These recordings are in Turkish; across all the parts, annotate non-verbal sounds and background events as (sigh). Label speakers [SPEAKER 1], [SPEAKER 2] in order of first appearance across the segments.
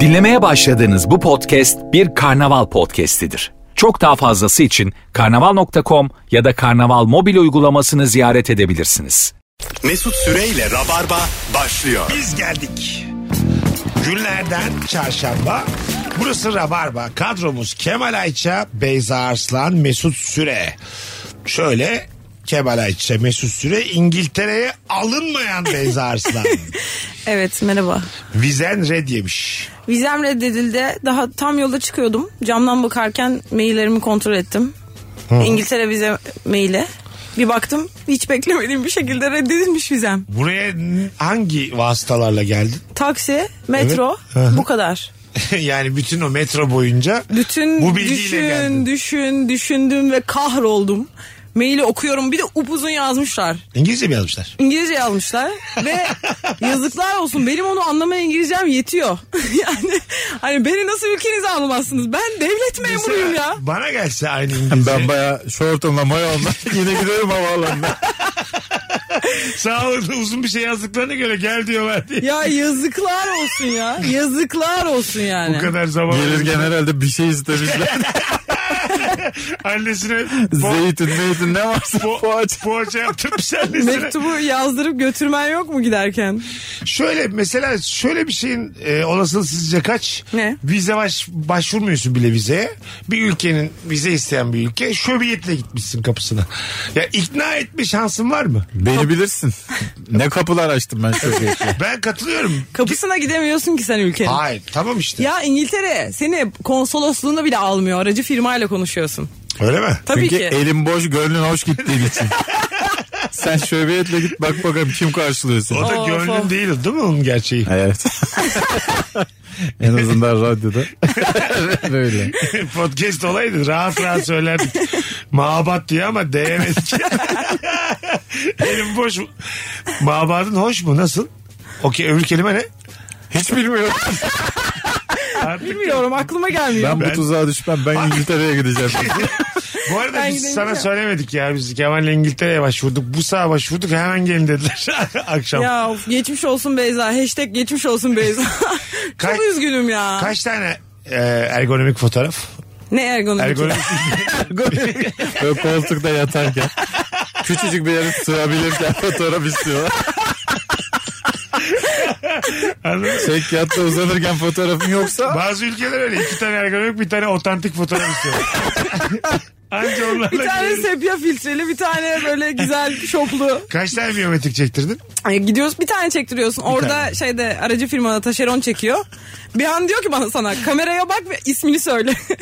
[SPEAKER 1] Dinlemeye başladığınız bu podcast bir karnaval podcastidir. Çok daha fazlası için karnaval.com ya da karnaval mobil uygulamasını ziyaret edebilirsiniz.
[SPEAKER 2] Mesut Süreyle Rabarba başlıyor.
[SPEAKER 3] Biz geldik. Günlerden çarşamba. Burası Rabarba. Kadromuz Kemal Ayça, Beyza Arslan, Mesut Süre. Şöyle Kemal Ayça, Mesut Süre İngiltere'ye alınmayan Beyza
[SPEAKER 4] (laughs)
[SPEAKER 3] Arslan.
[SPEAKER 4] Evet merhaba.
[SPEAKER 3] Vizen red yemiş.
[SPEAKER 4] Vizem reddedildi. Daha tam yolda çıkıyordum. Camdan bakarken maillerimi kontrol ettim. İngiltere vize maili. Bir baktım hiç beklemediğim bir şekilde reddedilmiş vizem.
[SPEAKER 3] Buraya n- hangi vasıtalarla geldin? (laughs)
[SPEAKER 4] Taksi, metro bu kadar.
[SPEAKER 3] yani bütün o metro boyunca
[SPEAKER 4] Bütün
[SPEAKER 3] bu bilgiyle
[SPEAKER 4] düşün,
[SPEAKER 3] geldin.
[SPEAKER 4] düşün, düşündüm ve kahroldum. Maili okuyorum bir de upuzun yazmışlar.
[SPEAKER 3] İngilizce mi yazmışlar?
[SPEAKER 4] İngilizce yazmışlar
[SPEAKER 3] (laughs)
[SPEAKER 4] ve yazıklar olsun benim onu anlamaya İngilizcem yetiyor. (laughs) yani hani beni nasıl ülkenize almazsınız? Ben devlet memuruyum ya.
[SPEAKER 3] Bana gelse aynı İngilizce.
[SPEAKER 5] Ben baya şortumla mayonla (laughs) yine giderim (laughs) havaalanına.
[SPEAKER 3] Sağ olun uzun bir şey yazdıklarına göre gel diyorlar diye.
[SPEAKER 4] Ya yazıklar olsun ya. Yazıklar olsun yani.
[SPEAKER 3] Bu kadar zaman.
[SPEAKER 5] Gelirken herhalde bir şey (laughs) istemişler.
[SPEAKER 3] Annesine po-
[SPEAKER 5] Zeytin, meytin ne varsa
[SPEAKER 3] po-
[SPEAKER 5] poğaça.
[SPEAKER 3] poğaça yaptırmış annesine.
[SPEAKER 4] Mektubu yazdırıp götürmen yok mu giderken?
[SPEAKER 3] Şöyle mesela şöyle bir şeyin e, olasılığı sizce kaç?
[SPEAKER 4] Ne?
[SPEAKER 3] Vize baş, başvurmuyorsun bile vizeye. Bir ülkenin vize isteyen bir ülke şöbiyetle gitmişsin kapısına. Ya ikna etme şansın var mı?
[SPEAKER 5] Beni bilirsin. Ne kapılar açtım ben (laughs) şöyle. şey.
[SPEAKER 3] Ben
[SPEAKER 4] (laughs)
[SPEAKER 3] katılıyorum.
[SPEAKER 4] Kapısına gidemiyorsun ki sen ülkenin.
[SPEAKER 3] Hayır tamam işte.
[SPEAKER 4] Ya İngiltere seni konsolosluğuna bile almıyor. Aracı firmayla konuşuyorsun.
[SPEAKER 3] Öyle mi?
[SPEAKER 4] Tabii
[SPEAKER 5] Çünkü
[SPEAKER 4] ki.
[SPEAKER 5] elin boş gönlün hoş gittiğin (laughs) için. Sen şöbiyetle git bak bakalım kim karşılıyor seni.
[SPEAKER 3] O da
[SPEAKER 4] Of,
[SPEAKER 3] gönlün
[SPEAKER 4] of.
[SPEAKER 3] değil değil mi onun gerçeği?
[SPEAKER 5] (laughs) Evet. en azından radyoda. (laughs) Böyle.
[SPEAKER 3] (laughs) Podcast olaydı rahat rahat söylerdik. Mabat diyor ama değemedik. (laughs) Elim boş. Mabatın hoş mu nasıl? Okey öbür kelime ne?
[SPEAKER 5] Hiç bilmiyorum.
[SPEAKER 3] Artık
[SPEAKER 4] Bilmiyorum aklıma gelmiyor.
[SPEAKER 5] Ben, bu tuzağa düşmem. (laughs) Ben İngiltere'ye gideceğim.
[SPEAKER 3] Bu arada
[SPEAKER 4] Ben
[SPEAKER 3] biz
[SPEAKER 4] gidemeyeceğim.
[SPEAKER 3] sana söylemedik ya biz Kemal'le İngiltere'ye başvurduk. Bu sağa başvurduk hemen gelin dediler (laughs) akşam.
[SPEAKER 4] Ya of, geçmiş olsun Beyza. Hashtag geçmiş olsun Beyza.
[SPEAKER 3] (laughs) Kaç-
[SPEAKER 4] Çok üzgünüm ya.
[SPEAKER 3] Kaç tane e, ergonomik fotoğraf?
[SPEAKER 4] Ne ergonomik.
[SPEAKER 3] Ergonomik
[SPEAKER 5] Böyle koltukta yatarken. Küçücük bir yere sığabilirken (laughs) fotoğraf istiyorlar.
[SPEAKER 3] anladın mı?
[SPEAKER 5] Çek yatta uzanırken fotoğrafın yoksa
[SPEAKER 3] (laughs) Bazı ülkeler öyle iki tane ergonomik bir tane otantik fotoğraf
[SPEAKER 4] (laughs)
[SPEAKER 3] istiyor. Anca onlarla
[SPEAKER 4] Bir tane
[SPEAKER 3] gidelim.
[SPEAKER 4] sepya filtreli bir tane böyle güzel şoplu.
[SPEAKER 3] Kaç tane biyometrik çektirdin?
[SPEAKER 4] Ay, gidiyoruz bir tane çektiriyorsun. Orada şeyde aracı firmada taşeron çekiyor. Bir an diyor ki bana sana kameraya bak ve ismini söyle. (laughs)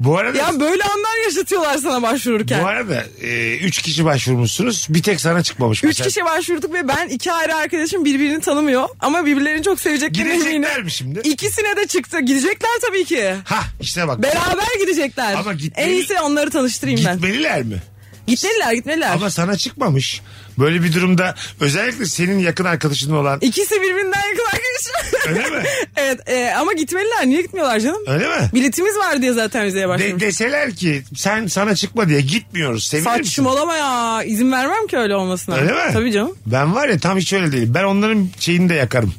[SPEAKER 3] Bu arada
[SPEAKER 4] ya böyle anlar yaşatıyorlar sana başvururken.
[SPEAKER 3] bu arada e, üç kişi başvurmuşsunuz. Bir tek sana çıkmamış.
[SPEAKER 4] Üç
[SPEAKER 3] mesela.
[SPEAKER 4] kişi başvurduk ve ben iki ayrı arkadaşım birbirini tanımıyor. Ama birbirlerini çok seveceklerine eminim.
[SPEAKER 3] Gidecekler mi şimdi?
[SPEAKER 4] İkisine de çıktı. Gidecekler tabii ki.
[SPEAKER 3] Ha işte bak.
[SPEAKER 4] Beraber gidecekler.
[SPEAKER 3] Ama gitmeli-
[SPEAKER 4] En iyisi onları tanıştırayım ben. şey.
[SPEAKER 3] Gitmeliler mi?
[SPEAKER 4] Gitmeliler gitmeliler.
[SPEAKER 3] Ama sana çıkmamış. Böyle bir durumda özellikle senin yakın arkadaşın olan
[SPEAKER 4] İkisi birbirinden yakın arkadaşım.
[SPEAKER 3] Öyle mi?
[SPEAKER 4] (laughs) evet e, ama gitmeliler. Niye gitmiyorlar canım?
[SPEAKER 3] Öyle mi?
[SPEAKER 4] Biletimiz var diye zaten vizeye
[SPEAKER 3] De,
[SPEAKER 4] başlamış.
[SPEAKER 3] deseler ki sen sana çıkma diye gitmiyoruz. Sevinir misin?
[SPEAKER 4] Saçmalama ya. İzin vermem ki öyle olmasına.
[SPEAKER 3] Öyle mi?
[SPEAKER 4] Tabii canım.
[SPEAKER 3] Ben var ya tam hiç öyle değilim. Ben onların şeyini de yakarım.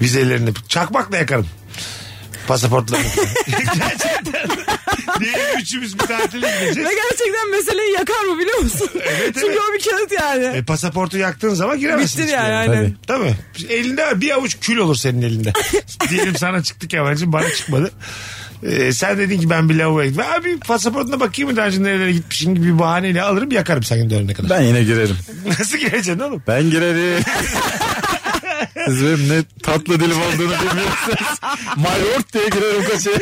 [SPEAKER 3] Vizelerini. Çakmakla yakarım.
[SPEAKER 4] (laughs)
[SPEAKER 3] Pasaportlarını. (laughs) Gerçekten. Diyelim üçümüz bir tatile
[SPEAKER 4] Ve
[SPEAKER 3] gideceğiz.
[SPEAKER 4] gerçekten meseleyi yakar mı biliyor musun? Çünkü
[SPEAKER 3] (laughs) evet.
[SPEAKER 4] o bir kağıt yani.
[SPEAKER 3] E, pasaportu yaktığın zaman giremezsin.
[SPEAKER 4] Bittin
[SPEAKER 3] hiçbir
[SPEAKER 4] yani
[SPEAKER 3] yere.
[SPEAKER 4] aynen.
[SPEAKER 3] Tabii. Elinde var, bir avuç kül olur senin elinde.
[SPEAKER 4] (laughs)
[SPEAKER 3] Diyelim sana çıktı Kemal'cim bana çıkmadı. Ee, sen dedin ki ben bir lavaboya gittim. Abi pasaportuna bakayım mı daha önce nerelere gitmişim gibi bir bahaneyle alırım yakarım senin dönene kadar. (laughs)
[SPEAKER 5] ben yine girerim.
[SPEAKER 3] Nasıl gireceksin oğlum?
[SPEAKER 5] Ben girerim. Siz benim ne tatlı dilim olduğunu bilmiyorsunuz. Mallort diye girerim kaçaya.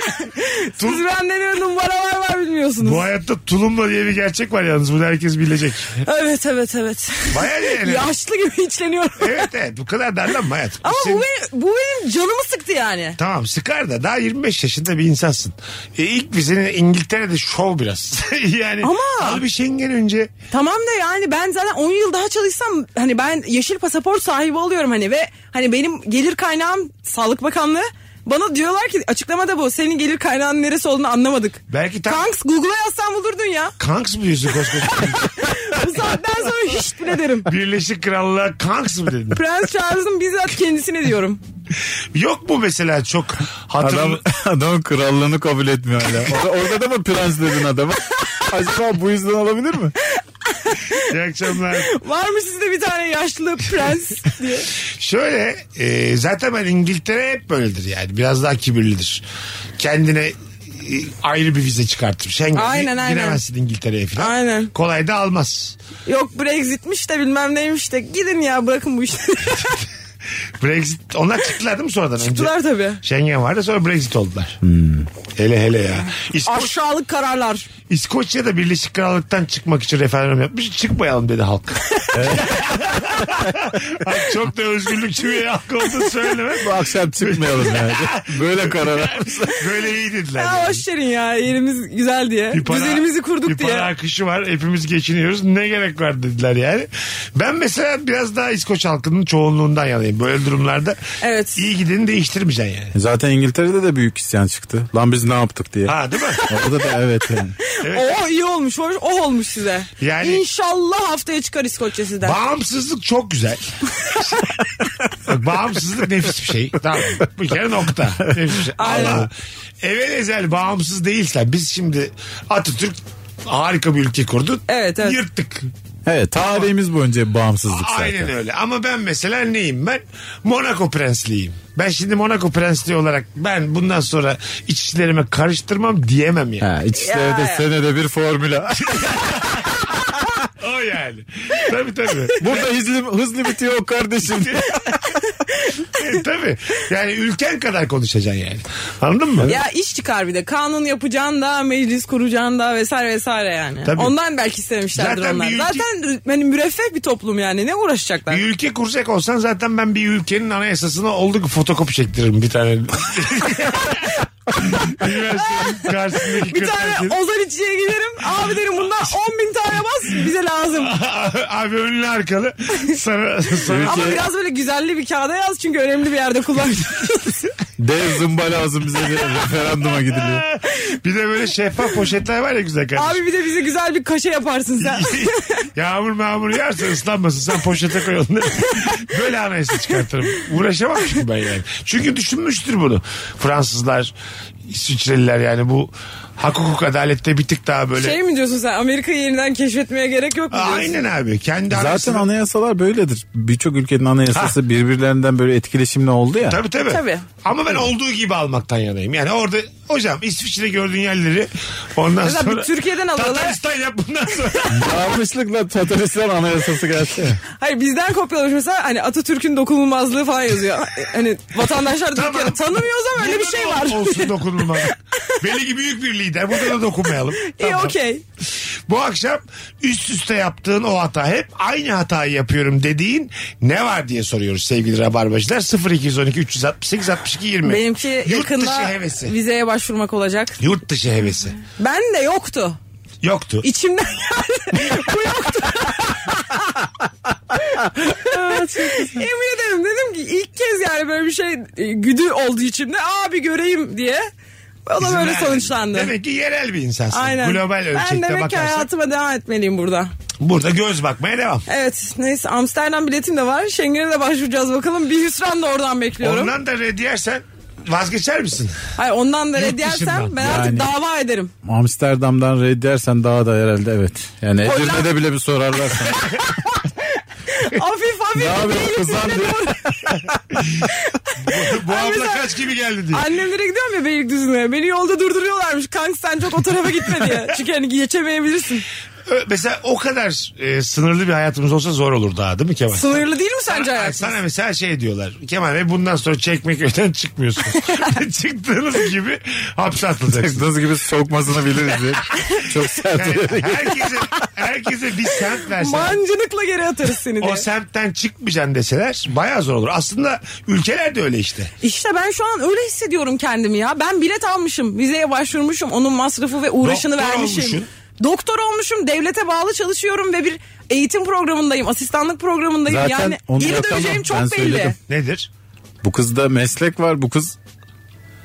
[SPEAKER 4] Siz benden öyle numaralar var bilmiyorsunuz.
[SPEAKER 3] Bu hayatta tulumba diye bir gerçek var yalnız bunu herkes
[SPEAKER 4] (laughs)
[SPEAKER 3] bilecek.
[SPEAKER 4] Evet evet evet.
[SPEAKER 3] Baya
[SPEAKER 4] (laughs)
[SPEAKER 3] yani.
[SPEAKER 4] Yaşlı gibi içleniyorum.
[SPEAKER 3] evet evet bu kadar darlanma hayat.
[SPEAKER 4] Ama
[SPEAKER 3] Senin-
[SPEAKER 4] bu, benim, bu benim canımı sıktı yani.
[SPEAKER 3] Tamam sıkar da daha 25 yaşında bir insansın. E, ilk vizini İngiltere'de şov biraz. (laughs) yani
[SPEAKER 4] Ama-
[SPEAKER 3] al bir Schengen önce.
[SPEAKER 4] Tamam da yani ben zaten 10 yıl daha çalışsam hani ben yeşil pasaport sahibi oluyorum hani ve hani benim gelir kaynağım Sağlık Bakanlığı bana diyorlar ki açıklamada bu senin gelir kaynağın neresi olduğunu anlamadık.
[SPEAKER 3] Belki tam
[SPEAKER 4] Kanks Google'a yazsan bulurdun ya.
[SPEAKER 3] Kanks mı diyorsun koskoca?
[SPEAKER 4] (laughs) Bu saatten sonra hiç bile derim.
[SPEAKER 3] Birleşik Krallığa Kanks mı dedin?
[SPEAKER 4] Prens Charles'ın bizzat kendisine diyorum.
[SPEAKER 3] Yok mu mesela çok hatır...
[SPEAKER 5] Adam, adam krallığını kabul etmiyor hala. Orada, orada da mı prens dedin adama? Acaba bu yüzden olabilir mi?
[SPEAKER 3] (laughs) İyi akşamlar.
[SPEAKER 4] Var mı sizde bir tane yaşlı prens diye?
[SPEAKER 3] Şöyle e, zaten ben İngiltere hep böyledir yani. Biraz daha kibirlidir. Kendine e, ayrı bir vize çıkartmış. Sen
[SPEAKER 4] Aynen, aynen.
[SPEAKER 3] giremezsin İngiltere'ye falan.
[SPEAKER 4] Aynen.
[SPEAKER 3] Kolay da almaz.
[SPEAKER 4] Yok Brexit'miş de bilmem neymiş de gidin ya bırakın bu işleri.
[SPEAKER 3] Brexit onlar çıktılar değil mi sonradan? Önce
[SPEAKER 4] Çıktılar tabii.
[SPEAKER 3] Schengen vardı sonra Brexit oldular. Hele hele ya. İsko-
[SPEAKER 4] Aşağılık kararlar.
[SPEAKER 3] İskoçya'da Birleşik Krallık'tan çıkmak için referandum yapmış. Çıkmayalım dedi halk. (laughs) Ay, çok da özgürlükçü bir halk olduğunu söyleme.
[SPEAKER 5] Bu akşam çıkmayalım yani. Böyle karar.
[SPEAKER 3] Böyle iyi dediler.
[SPEAKER 4] Ya
[SPEAKER 3] yani.
[SPEAKER 4] hoş verin ya yerimiz güzel diye.
[SPEAKER 3] Bir para-
[SPEAKER 4] Düzenimizi
[SPEAKER 3] bir
[SPEAKER 4] kurduk diye.
[SPEAKER 3] para akışı var. Hepimiz geçiniyoruz. Ne gerek var dediler yani. Ben mesela biraz daha İskoç halkının çoğunluğundan yanayım. Böyle durumlarda
[SPEAKER 4] Evet.
[SPEAKER 3] iyi gideni değiştirmeyeceksin yani.
[SPEAKER 5] Zaten İngiltere'de de büyük isyan çıktı. Lan biz ne yaptık diye.
[SPEAKER 3] Ha değil mi?
[SPEAKER 5] Orada da evet yani.
[SPEAKER 4] O iyi olmuş, o o olmuş size.
[SPEAKER 3] Yani-
[SPEAKER 4] İnşallah haftaya çıkar İskoçya sizden.
[SPEAKER 3] Bağımsızlık çok
[SPEAKER 4] (laughs)
[SPEAKER 3] güzel. Bak, bağımsızlık nefis bir şey. Tamam. Bir kere nokta. Nefis bir şey.
[SPEAKER 4] Aynen.
[SPEAKER 3] Allah. Evvel ezel bağımsız değilsen biz şimdi Atatürk harika bir ülke kurdu.
[SPEAKER 4] Evet, evet.
[SPEAKER 3] Yırttık.
[SPEAKER 5] Evet tarihimiz boyunca bağımsızlık zaten.
[SPEAKER 3] Aynen öyle. Ama ben mesela neyim ben? Monaco prensliyim. Ben şimdi Monaco prensliği olarak ben bundan sonra iç işlerime karıştırmam diyemem yani.
[SPEAKER 5] Ha, iç işleri de
[SPEAKER 4] Ya.
[SPEAKER 5] senede bir formüla.
[SPEAKER 3] O yani. Tabii tabii. (laughs)
[SPEAKER 5] Burada hızlı, hızlı bitiyor o kardeşim.
[SPEAKER 3] E, tabii. Yani ülken kadar konuşacaksın yani. Anladın mı?
[SPEAKER 4] Ya iş çıkar bir de. Kanun yapacağın da, meclis kuracağın da vesaire vesaire yani.
[SPEAKER 3] Tabii.
[SPEAKER 4] Ondan belki istemişlerdir
[SPEAKER 3] Zaten
[SPEAKER 4] onlar.
[SPEAKER 3] bir ülke-
[SPEAKER 4] Zaten hani müreffeh bir toplum yani. Ne uğraşacaklar?
[SPEAKER 3] Bir ülke kuracak olsan zaten ben bir ülkenin anayasasını oldu ki fotokopi çektiririm bir
[SPEAKER 4] (laughs)
[SPEAKER 3] tane. Üniversitenin karşısındaki
[SPEAKER 4] bir tane
[SPEAKER 3] kırtasiye.
[SPEAKER 4] Ozan içiye giderim. Abi derim bundan 10 bin tane bas bize lazım.
[SPEAKER 3] (laughs) Abi önlü arkalı. Sana, sana...
[SPEAKER 4] Ama biraz böyle güzelli bir kağıda yaz çünkü önemli bir
[SPEAKER 3] (laughs)
[SPEAKER 4] yerde kullanacağız.
[SPEAKER 5] Dev zımba lazım bize bir referanduma gidiliyor.
[SPEAKER 3] bir de böyle şeffaf poşetler var ya güzel kardeşim.
[SPEAKER 4] (laughs) Abi bir de bize güzel bir kaşe yaparsın
[SPEAKER 3] (laughs)
[SPEAKER 4] sen.
[SPEAKER 3] Yağmur mağmur yerse ıslanmasın. Sen poşete koy onu.
[SPEAKER 4] (laughs)
[SPEAKER 3] Böyle anayasa çıkartırım. Uğraşamam çünkü ben yani. Çünkü düşünmüştür bunu. Fransızlar, İsviçreliler yani bu hak hukuk adalette bir tık daha böyle.
[SPEAKER 4] şey mi diyorsun sen Amerika'yı yeniden keşfetmeye gerek yok mu diyorsun?
[SPEAKER 3] Aynen abi. Kendi
[SPEAKER 5] Zaten
[SPEAKER 3] anayasasını-
[SPEAKER 5] anayasalar böyledir. Birçok ülkenin anayasası birbirlerinden böyle etkileşimli oldu ya.
[SPEAKER 3] Tabii tabii.
[SPEAKER 4] Tabii.
[SPEAKER 3] Ama ben olduğu gibi almaktan yanayım. Yani orada hocam İsviçre gördüğün yerleri ondan
[SPEAKER 4] Mesela bir
[SPEAKER 3] sonra.
[SPEAKER 4] Türkiye'den alıyorlar.
[SPEAKER 3] Tataristan yap bundan
[SPEAKER 4] (laughs)
[SPEAKER 3] sonra.
[SPEAKER 5] Yanlışlıkla Tataristan anayasası gelse.
[SPEAKER 4] Hayır bizden kopyalamış mesela hani Atatürk'ün dokunulmazlığı falan yazıyor. hani vatandaşlar
[SPEAKER 3] Tamam.
[SPEAKER 4] Türkiye'de tanımıyoruz ama öyle bir şey
[SPEAKER 3] Bundan
[SPEAKER 4] var.
[SPEAKER 3] ol- Olsun dokunulmaz. Belli ki büyük bir lider. Burada da dokunmayalım.
[SPEAKER 4] İyi
[SPEAKER 3] Tamam.
[SPEAKER 4] okey.
[SPEAKER 3] Bu akşam üst üste yaptığın o hata hep aynı hatayı yapıyorum dediğin ne var diye soruyoruz sevgili Rabarbacılar. 0212 368 62 20.
[SPEAKER 4] Benimki
[SPEAKER 3] Yurt dışı
[SPEAKER 4] yakında
[SPEAKER 3] hevesi.
[SPEAKER 4] vizeye başvurmak olacak.
[SPEAKER 3] Yurt dışı hevesi.
[SPEAKER 4] Ben de yoktu.
[SPEAKER 3] Yoktu.
[SPEAKER 4] İçimden (laughs) geldi. Bu
[SPEAKER 3] (laughs)
[SPEAKER 4] yoktu. Yemin ederim dedim ki ilk kez yani böyle bir şey e, güdü oldu içimde. Abi göreyim diye. O da
[SPEAKER 3] İzin
[SPEAKER 4] böyle
[SPEAKER 3] vermedi.
[SPEAKER 4] sonuçlandı.
[SPEAKER 3] Demek ki yerel bir insansın.
[SPEAKER 4] Aynen.
[SPEAKER 3] Global ölçekte
[SPEAKER 4] ben demek ki
[SPEAKER 3] bakarsak.
[SPEAKER 4] hayatıma devam etmeliyim burada.
[SPEAKER 3] Burada göz bakmaya devam.
[SPEAKER 4] Evet neyse Amsterdam biletim de var. Schengen'e de başvuracağız bakalım. Bir hüsran da oradan bekliyorum.
[SPEAKER 3] Ondan da red yersen vazgeçer
[SPEAKER 4] (laughs)
[SPEAKER 3] misin?
[SPEAKER 4] Hayır ondan da
[SPEAKER 3] Yurt
[SPEAKER 4] red yersem
[SPEAKER 3] dışından.
[SPEAKER 4] ben artık
[SPEAKER 5] Yani-
[SPEAKER 4] dava ederim.
[SPEAKER 5] Amsterdam'dan red dersen daha da herhalde evet. Yani
[SPEAKER 4] Hollanda-
[SPEAKER 5] Edirne'de bile bir (laughs) sorarlar sana.
[SPEAKER 4] hafif hafif.
[SPEAKER 5] ne
[SPEAKER 4] eğilip
[SPEAKER 5] yapıyorsun kızan
[SPEAKER 4] üzerine
[SPEAKER 5] diye.
[SPEAKER 4] doğru-
[SPEAKER 5] (laughs)
[SPEAKER 3] Bu
[SPEAKER 4] Ay,
[SPEAKER 3] abla
[SPEAKER 4] mesela-
[SPEAKER 3] kaç gibi geldi diye.
[SPEAKER 4] Annemlere gidiyorum ya Beylikdüzü'ne. Beni yolda durduruyorlarmış. Kanka sen çok o tarafa gitme
[SPEAKER 5] (laughs)
[SPEAKER 4] diye. Çünkü hani geçemeyebilirsin.
[SPEAKER 3] Ö- Mesela o kadar e, sınırlı bir hayatımız olsa zor olur daha değil mi Kemal?
[SPEAKER 4] Sınırlı değil mi sence
[SPEAKER 3] Sana-
[SPEAKER 4] hayatın?
[SPEAKER 3] Sana mesela şey diyorlar. Kemal Bey bundan sonra çekmeköyden
[SPEAKER 4] (laughs)
[SPEAKER 3] çıkmıyorsunuz. (laughs) Çıktığınız gibi hapse atılacaksınız.
[SPEAKER 5] Çıktığınız gibi sokmasını biliriz diye. Çok sert.
[SPEAKER 3] Yani herkese, herkese bir semt verseler.
[SPEAKER 4] Mancınıkla geri atarız seni diye.
[SPEAKER 3] O semtten çıkmayacaksın deseler bayağı zor olur. Aslında ülkeler de öyle işte.
[SPEAKER 4] İşte ben şu an öyle hissediyorum kendimi ya. Ben bilet almışım. Vizeye başvurmuşum. Onun masrafı ve uğraşını
[SPEAKER 3] Doktor
[SPEAKER 4] vermişim.
[SPEAKER 3] olmuşsun.
[SPEAKER 4] Doktor olmuşum. Devlete bağlı çalışıyorum ve bir eğitim programındayım. Asistanlık programındayım.
[SPEAKER 5] Zaten
[SPEAKER 4] yani
[SPEAKER 5] onu
[SPEAKER 4] geri
[SPEAKER 5] yapamam.
[SPEAKER 4] döneceğim çok
[SPEAKER 5] Ben
[SPEAKER 4] belli.
[SPEAKER 5] söyledim.
[SPEAKER 3] Nedir?
[SPEAKER 5] Bu kızda meslek var. Bu kız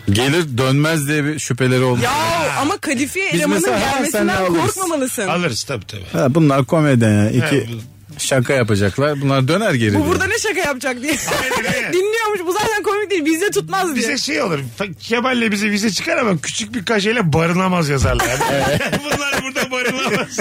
[SPEAKER 5] gelir dönmez diye bir şüpheleri oldu.
[SPEAKER 4] Ya ama kalifiye
[SPEAKER 5] Biz
[SPEAKER 4] elemanın
[SPEAKER 5] mesela, ha, sen ne
[SPEAKER 4] gelmesinden
[SPEAKER 5] alırız?
[SPEAKER 4] korkmamalısın.
[SPEAKER 3] Alırız tabii tabii.
[SPEAKER 5] Ha, bunlar komedyen ya. İki
[SPEAKER 3] Evet.
[SPEAKER 5] şaka yapacaklar. Bunlar döner geri.
[SPEAKER 4] Bu
[SPEAKER 5] diye.
[SPEAKER 4] burada ne şaka yapacak diye.
[SPEAKER 3] Aynen, aynen.
[SPEAKER 4] (laughs) Dinliyormuş. Bu zaten komik değil. vize tutmaz diye.
[SPEAKER 3] Bize şey olur. Kemal'le bize vize çıkar ama küçük bir kaşeyle barınamaz yazarlar. (laughs) Bunlar burada barınamaz.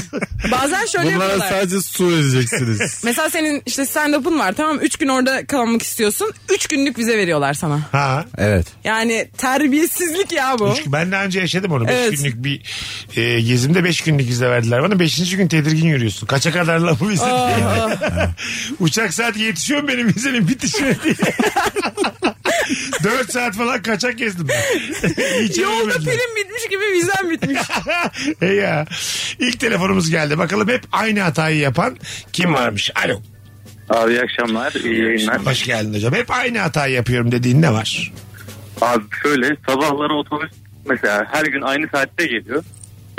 [SPEAKER 4] Bazen şöyle
[SPEAKER 5] Bunlara
[SPEAKER 4] yapıyorlar.
[SPEAKER 5] sadece
[SPEAKER 4] (laughs)
[SPEAKER 5] su vereceksiniz.
[SPEAKER 4] Mesela senin işte stand-up'ın var tamam 3 gün orada kalmak istiyorsun. 3 günlük vize veriyorlar sana.
[SPEAKER 3] ha.
[SPEAKER 5] evet.
[SPEAKER 4] Yani terbiyesizlik ya bu.
[SPEAKER 3] Üç gün- ben daha önce yaşadım onu.
[SPEAKER 4] Evet.
[SPEAKER 3] Beş günlük bir e, gezimde beş günlük vize verdiler bana. Beşinci gün tedirgin yürüyorsun. Kaça kadar lan bu vize diye. (laughs) Uçak saati yetişiyor mu benim vizenin bitişine (laughs) diye. Dört saat falan kaçak gezdim (laughs) ben. Hiç
[SPEAKER 4] Yolda
[SPEAKER 3] yürümedim.
[SPEAKER 4] pilim bitmiş gibi vizen bitmiş.
[SPEAKER 3] E (laughs) ya. İlk telefonumuz geldi. Bakalım hep aynı hatayı yapan kim varmış? Alo.
[SPEAKER 6] Abi iyi akşamlar, iyi yayınlar.
[SPEAKER 3] Hoş geldin hocam. Hep aynı hatayı yapıyorum dediğin ne var?
[SPEAKER 6] Abi şöyle sabahları otobüs mesela her gün aynı saatte geliyor.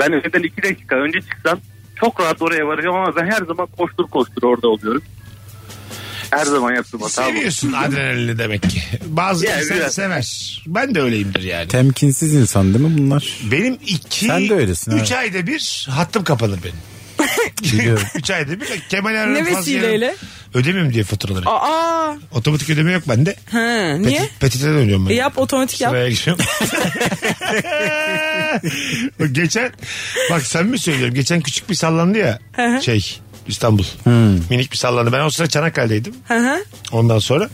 [SPEAKER 6] Ben önden iki dakika önce çıksam çok rahat oraya varacağım ama ben her zaman koştur koştur orada oluyorum. Her zaman yaptığım hata bu.
[SPEAKER 3] Seviyorsun adrenalini demek ki. Bazı
[SPEAKER 6] Yani
[SPEAKER 3] insan
[SPEAKER 6] biraz.
[SPEAKER 3] sever. Ben de öyleyimdir yani.
[SPEAKER 5] Temkinsiz insan değil mi bunlar?
[SPEAKER 3] Benim iki,
[SPEAKER 5] Sen de öylesin,
[SPEAKER 3] üç
[SPEAKER 5] evet.
[SPEAKER 3] ayda bir hattım kapanır benim.
[SPEAKER 5] (laughs) Biliyorum.
[SPEAKER 3] (laughs) üç ayda bir Kemal Erdoğan
[SPEAKER 4] Ne
[SPEAKER 3] fazla
[SPEAKER 4] vesileyle?
[SPEAKER 3] yarın Ödemiyorum diye faturaları.
[SPEAKER 4] Aa,
[SPEAKER 3] Otomatik ödeme yok bende.
[SPEAKER 4] ha, niye?
[SPEAKER 3] Peti- Petiteden ödüyorum ben.
[SPEAKER 4] E yap otomatik yap.
[SPEAKER 3] Sıraya giriyorum.
[SPEAKER 4] (laughs)
[SPEAKER 3] geçen bak sen mi söylüyorum geçen küçük bir sallandı ya şey İstanbul minik bir sallandı ben o sıra Çanakkale'deydim
[SPEAKER 4] Hı hı.
[SPEAKER 3] ondan sonra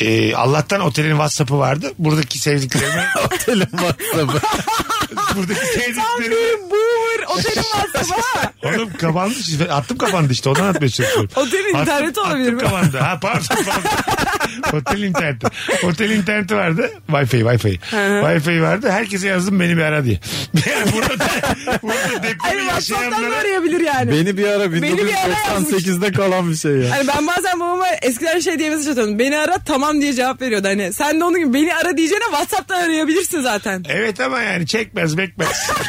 [SPEAKER 3] e, Allah'tan otelin Whatsapp'ı vardı buradaki sevdiklerimi
[SPEAKER 5] Telefonla
[SPEAKER 3] (laughs) buradaki
[SPEAKER 4] Tam
[SPEAKER 3] sevdiklerimi
[SPEAKER 4] bir boomer otelin WhatsApp'ı ha.
[SPEAKER 3] Oğlum kapandı işte. Attım kapandı işte. Ondan atmaya çalışıyorum.
[SPEAKER 4] Otelin
[SPEAKER 3] Attım-
[SPEAKER 4] interneti olabilir
[SPEAKER 3] attım
[SPEAKER 4] mi?
[SPEAKER 3] kapandı. Ha pardon pardon. Otel interneti. Otel interneti vardı. Wi-Fi Wi-Fi. Wi-Fi vardı. Herkese yazdım beni bir ara diye. (laughs) Yani burada, burada
[SPEAKER 4] Hani
[SPEAKER 3] depremi
[SPEAKER 4] WhatsApp'tan da
[SPEAKER 3] yaşayanlara
[SPEAKER 4] arayabilir yani.
[SPEAKER 5] Beni bir ara
[SPEAKER 4] Beni bir ara
[SPEAKER 5] 1998'de kalan bir şey ya.
[SPEAKER 4] Hani ben bazen babama eskiden şey diye mesaj atıyordum. Beni ara tamam diye cevap veriyordu. Hani sen de onun gibi beni ara diyeceğine Whatsapp'tan arayabilirsin zaten.
[SPEAKER 3] Evet ama yani çekmez bekmez. (laughs)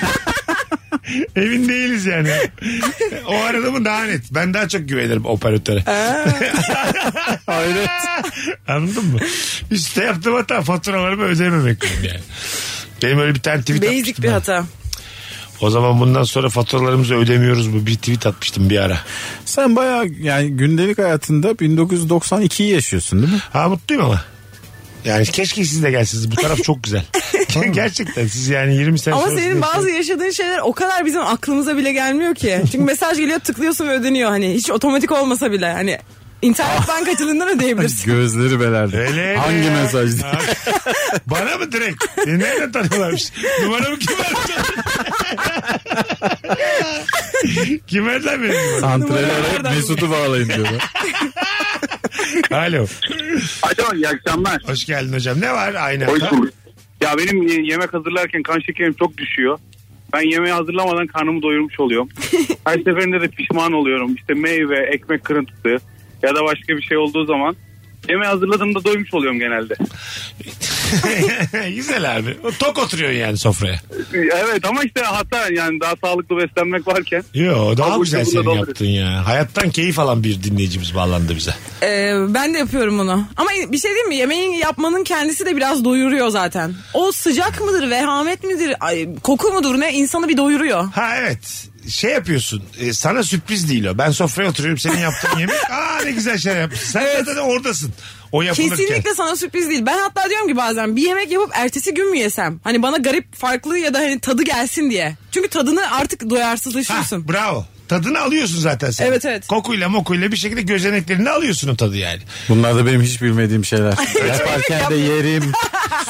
[SPEAKER 3] Emin değiliz yani. O aradığımı daha net. Ben daha çok güvenirim operatöre. (laughs)
[SPEAKER 5] Hayret.
[SPEAKER 3] Anladın mı? İşte yaptığım hata faturalarımı ödememek yani. Benim öyle bir tane tweet
[SPEAKER 4] Basic
[SPEAKER 3] atmıştım
[SPEAKER 4] bir
[SPEAKER 3] ben.
[SPEAKER 4] hata.
[SPEAKER 3] O zaman bundan sonra faturalarımızı ödemiyoruz bu bir tweet atmıştım bir ara.
[SPEAKER 5] Sen bayağı yani gündelik hayatında 1992'yi yaşıyorsun değil mi?
[SPEAKER 3] Ha mutluyum ama. Yani keşke siz de gelsiniz. Bu taraf çok
[SPEAKER 4] (laughs)
[SPEAKER 3] güzel. Gerçekten siz yani 20 sene
[SPEAKER 4] Ama
[SPEAKER 3] sonra
[SPEAKER 4] senin
[SPEAKER 3] siz-
[SPEAKER 4] bazı yaşadığın şeyler o kadar bizim aklımıza bile gelmiyor ki. Çünkü mesaj geliyor tıklıyorsun ve ödeniyor hani. Hiç otomatik olmasa bile hani. internet bankacılığından ödeyebilirsin.
[SPEAKER 5] Gözleri belerdi.
[SPEAKER 3] Öyle
[SPEAKER 5] Hangi
[SPEAKER 3] ya.
[SPEAKER 5] mesaj?
[SPEAKER 3] Ha. Bana mı direkt? E, nereden tanıyorlarmış? Numaramı kim verdi? (laughs) kim verdi lan benim numaramı?
[SPEAKER 5] Santrali
[SPEAKER 4] Numara
[SPEAKER 5] arayıp
[SPEAKER 4] nereden
[SPEAKER 5] Mesut'u bağlayın diyorlar.
[SPEAKER 4] (laughs)
[SPEAKER 3] Alo.
[SPEAKER 6] Alo iyi akşamlar.
[SPEAKER 3] Hoş geldin hocam. Ne var aynı
[SPEAKER 6] Hoş
[SPEAKER 3] hata?
[SPEAKER 6] bulduk. Ya benim e, yemek hazırlarken kan şekerim çok düşüyor. Ben yemeği hazırlamadan karnımı doyurmuş oluyorum. Her seferinde de pişman oluyorum. İşte meyve, ekmek kırıntısı ya da başka bir şey olduğu zaman yemeği hazırladığımda doymuş oluyorum genelde.
[SPEAKER 3] (laughs) güzel abi. O Tok oturuyorsun yani sofraya.
[SPEAKER 6] Evet ama işte hata yani daha sağlıklı beslenmek varken.
[SPEAKER 3] Yo daha
[SPEAKER 6] Abi,
[SPEAKER 3] güzel
[SPEAKER 6] ucunda
[SPEAKER 3] senin
[SPEAKER 6] doğru.
[SPEAKER 3] yaptın ya. Hayattan keyif alan bir dinleyicimiz bağlandı bize.
[SPEAKER 4] Ee, ben de yapıyorum onu. Ama bir şey diyeyim mi? Yemeğin yapmanın kendisi de biraz doyuruyor zaten. O sıcak mıdır, vehamet midir, ay, koku mudur ne insanı bir doyuruyor.
[SPEAKER 3] Ha evet. Şey yapıyorsun. e, sana sürpriz değil o. Ben sofraya oturuyorum senin yaptığın yemek. Aa ne güzel şey yapmışsın. Sen zaten oradasın. O yapılırken.
[SPEAKER 4] Kesinlikle sana sürpriz değil. Ben hatta diyorum ki bazen bir yemek yapıp ertesi gün mü yesem? Hani bana garip, farklı ya da hani tadı gelsin diye. Çünkü tadını artık
[SPEAKER 3] Ha,
[SPEAKER 4] doyarsızlaşıyorsun.
[SPEAKER 3] bravo. Tadını alıyorsun zaten sen.
[SPEAKER 4] Evet, evet.
[SPEAKER 3] Kokuyla mokuyla bir şekilde gözeneklerini alıyorsun o tadı yani.
[SPEAKER 5] Bunlar da benim hiç bilmediğim şeyler. Yaparken
[SPEAKER 4] (laughs)
[SPEAKER 5] de yerim.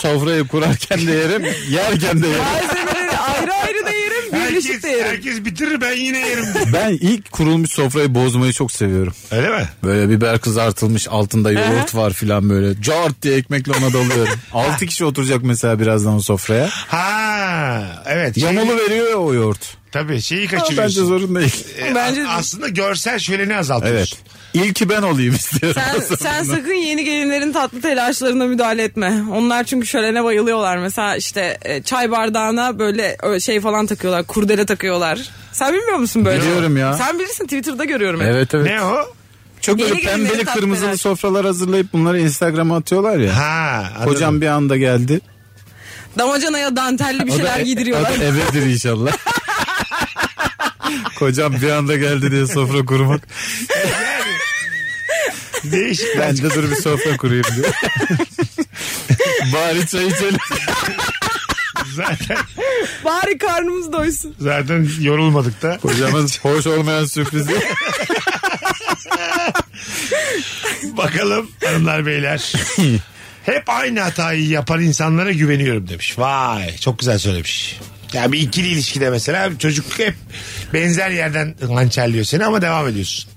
[SPEAKER 5] Sofrayı kurarken de yerim. Yerken de yerim.
[SPEAKER 4] Malzemeleri ayrı ayrı da yerim, birleşik
[SPEAKER 3] Herkes,
[SPEAKER 4] de yerim.
[SPEAKER 3] herkes bitirir ben yine yerim. (laughs)
[SPEAKER 5] Ben ilk kurulmuş sofrayı bozmayı çok seviyorum.
[SPEAKER 3] Öyle mi?
[SPEAKER 5] Böyle biber kızartılmış altında yoğurt var filan böyle. Cart diye ekmekle
[SPEAKER 4] (laughs)
[SPEAKER 5] ona dalıyorum. 6 kişi oturacak mesela birazdan o sofraya.
[SPEAKER 3] Ha evet. Şey,
[SPEAKER 5] Yamalı veriyor ya o yoğurt.
[SPEAKER 3] tabii şeyi
[SPEAKER 5] Ama bence
[SPEAKER 3] kaçırıyorsun.
[SPEAKER 4] (laughs)
[SPEAKER 5] zorun değil.
[SPEAKER 3] E,
[SPEAKER 4] Bence-
[SPEAKER 3] a- aslında görsel şöleni azaltıyorsun.
[SPEAKER 5] Evet. İlki ben olayım istiyorum.
[SPEAKER 4] Sen,
[SPEAKER 5] (laughs)
[SPEAKER 4] sen sakın yeni gelinlerin tatlı telaşlarına müdahale etme. Onlar çünkü şölene bayılıyorlar. Mesela işte e, çay bardağına böyle ö, şey falan takıyorlar, kurdele takıyorlar. Sen bilmiyor musun böyle?
[SPEAKER 5] Biliyorum ya.
[SPEAKER 4] Sen bilirsin Twitter'da görüyorum. hep.
[SPEAKER 5] Evet evet.
[SPEAKER 3] Ne o?
[SPEAKER 5] Çok
[SPEAKER 4] Yeni
[SPEAKER 5] böyle
[SPEAKER 4] gelinleri
[SPEAKER 5] pembeli
[SPEAKER 4] tatmin
[SPEAKER 5] kırmızılı
[SPEAKER 4] eder.
[SPEAKER 5] sofralar hazırlayıp bunları Instagram'a atıyorlar ya.
[SPEAKER 3] Ha. anladım.
[SPEAKER 5] Kocam bir anda geldi.
[SPEAKER 4] Damacanaya dantelli bir
[SPEAKER 5] O da
[SPEAKER 4] şeyler
[SPEAKER 5] e-
[SPEAKER 4] giydiriyorlar.
[SPEAKER 5] o da evedir inşallah. (laughs) Kocam bir anda geldi diye sofra kurmak.
[SPEAKER 3] Değişik.
[SPEAKER 5] Ben de dur bir sofra kurayım diyor. (laughs) Bari çay içelim.
[SPEAKER 3] (laughs) Zaten
[SPEAKER 4] Bari karnımız doysun.
[SPEAKER 3] zaten yorulmadık da.
[SPEAKER 5] Hocamın hoş olmayan sürprizi.
[SPEAKER 3] Bakalım hanımlar beyler. Hep aynı hatayı yapan insanlara güveniyorum demiş. Vay çok güzel söylemiş. Ya bir ikili ilişkide mesela çocuk hep benzer yerden hançerliyor seni ama devam ediyorsun.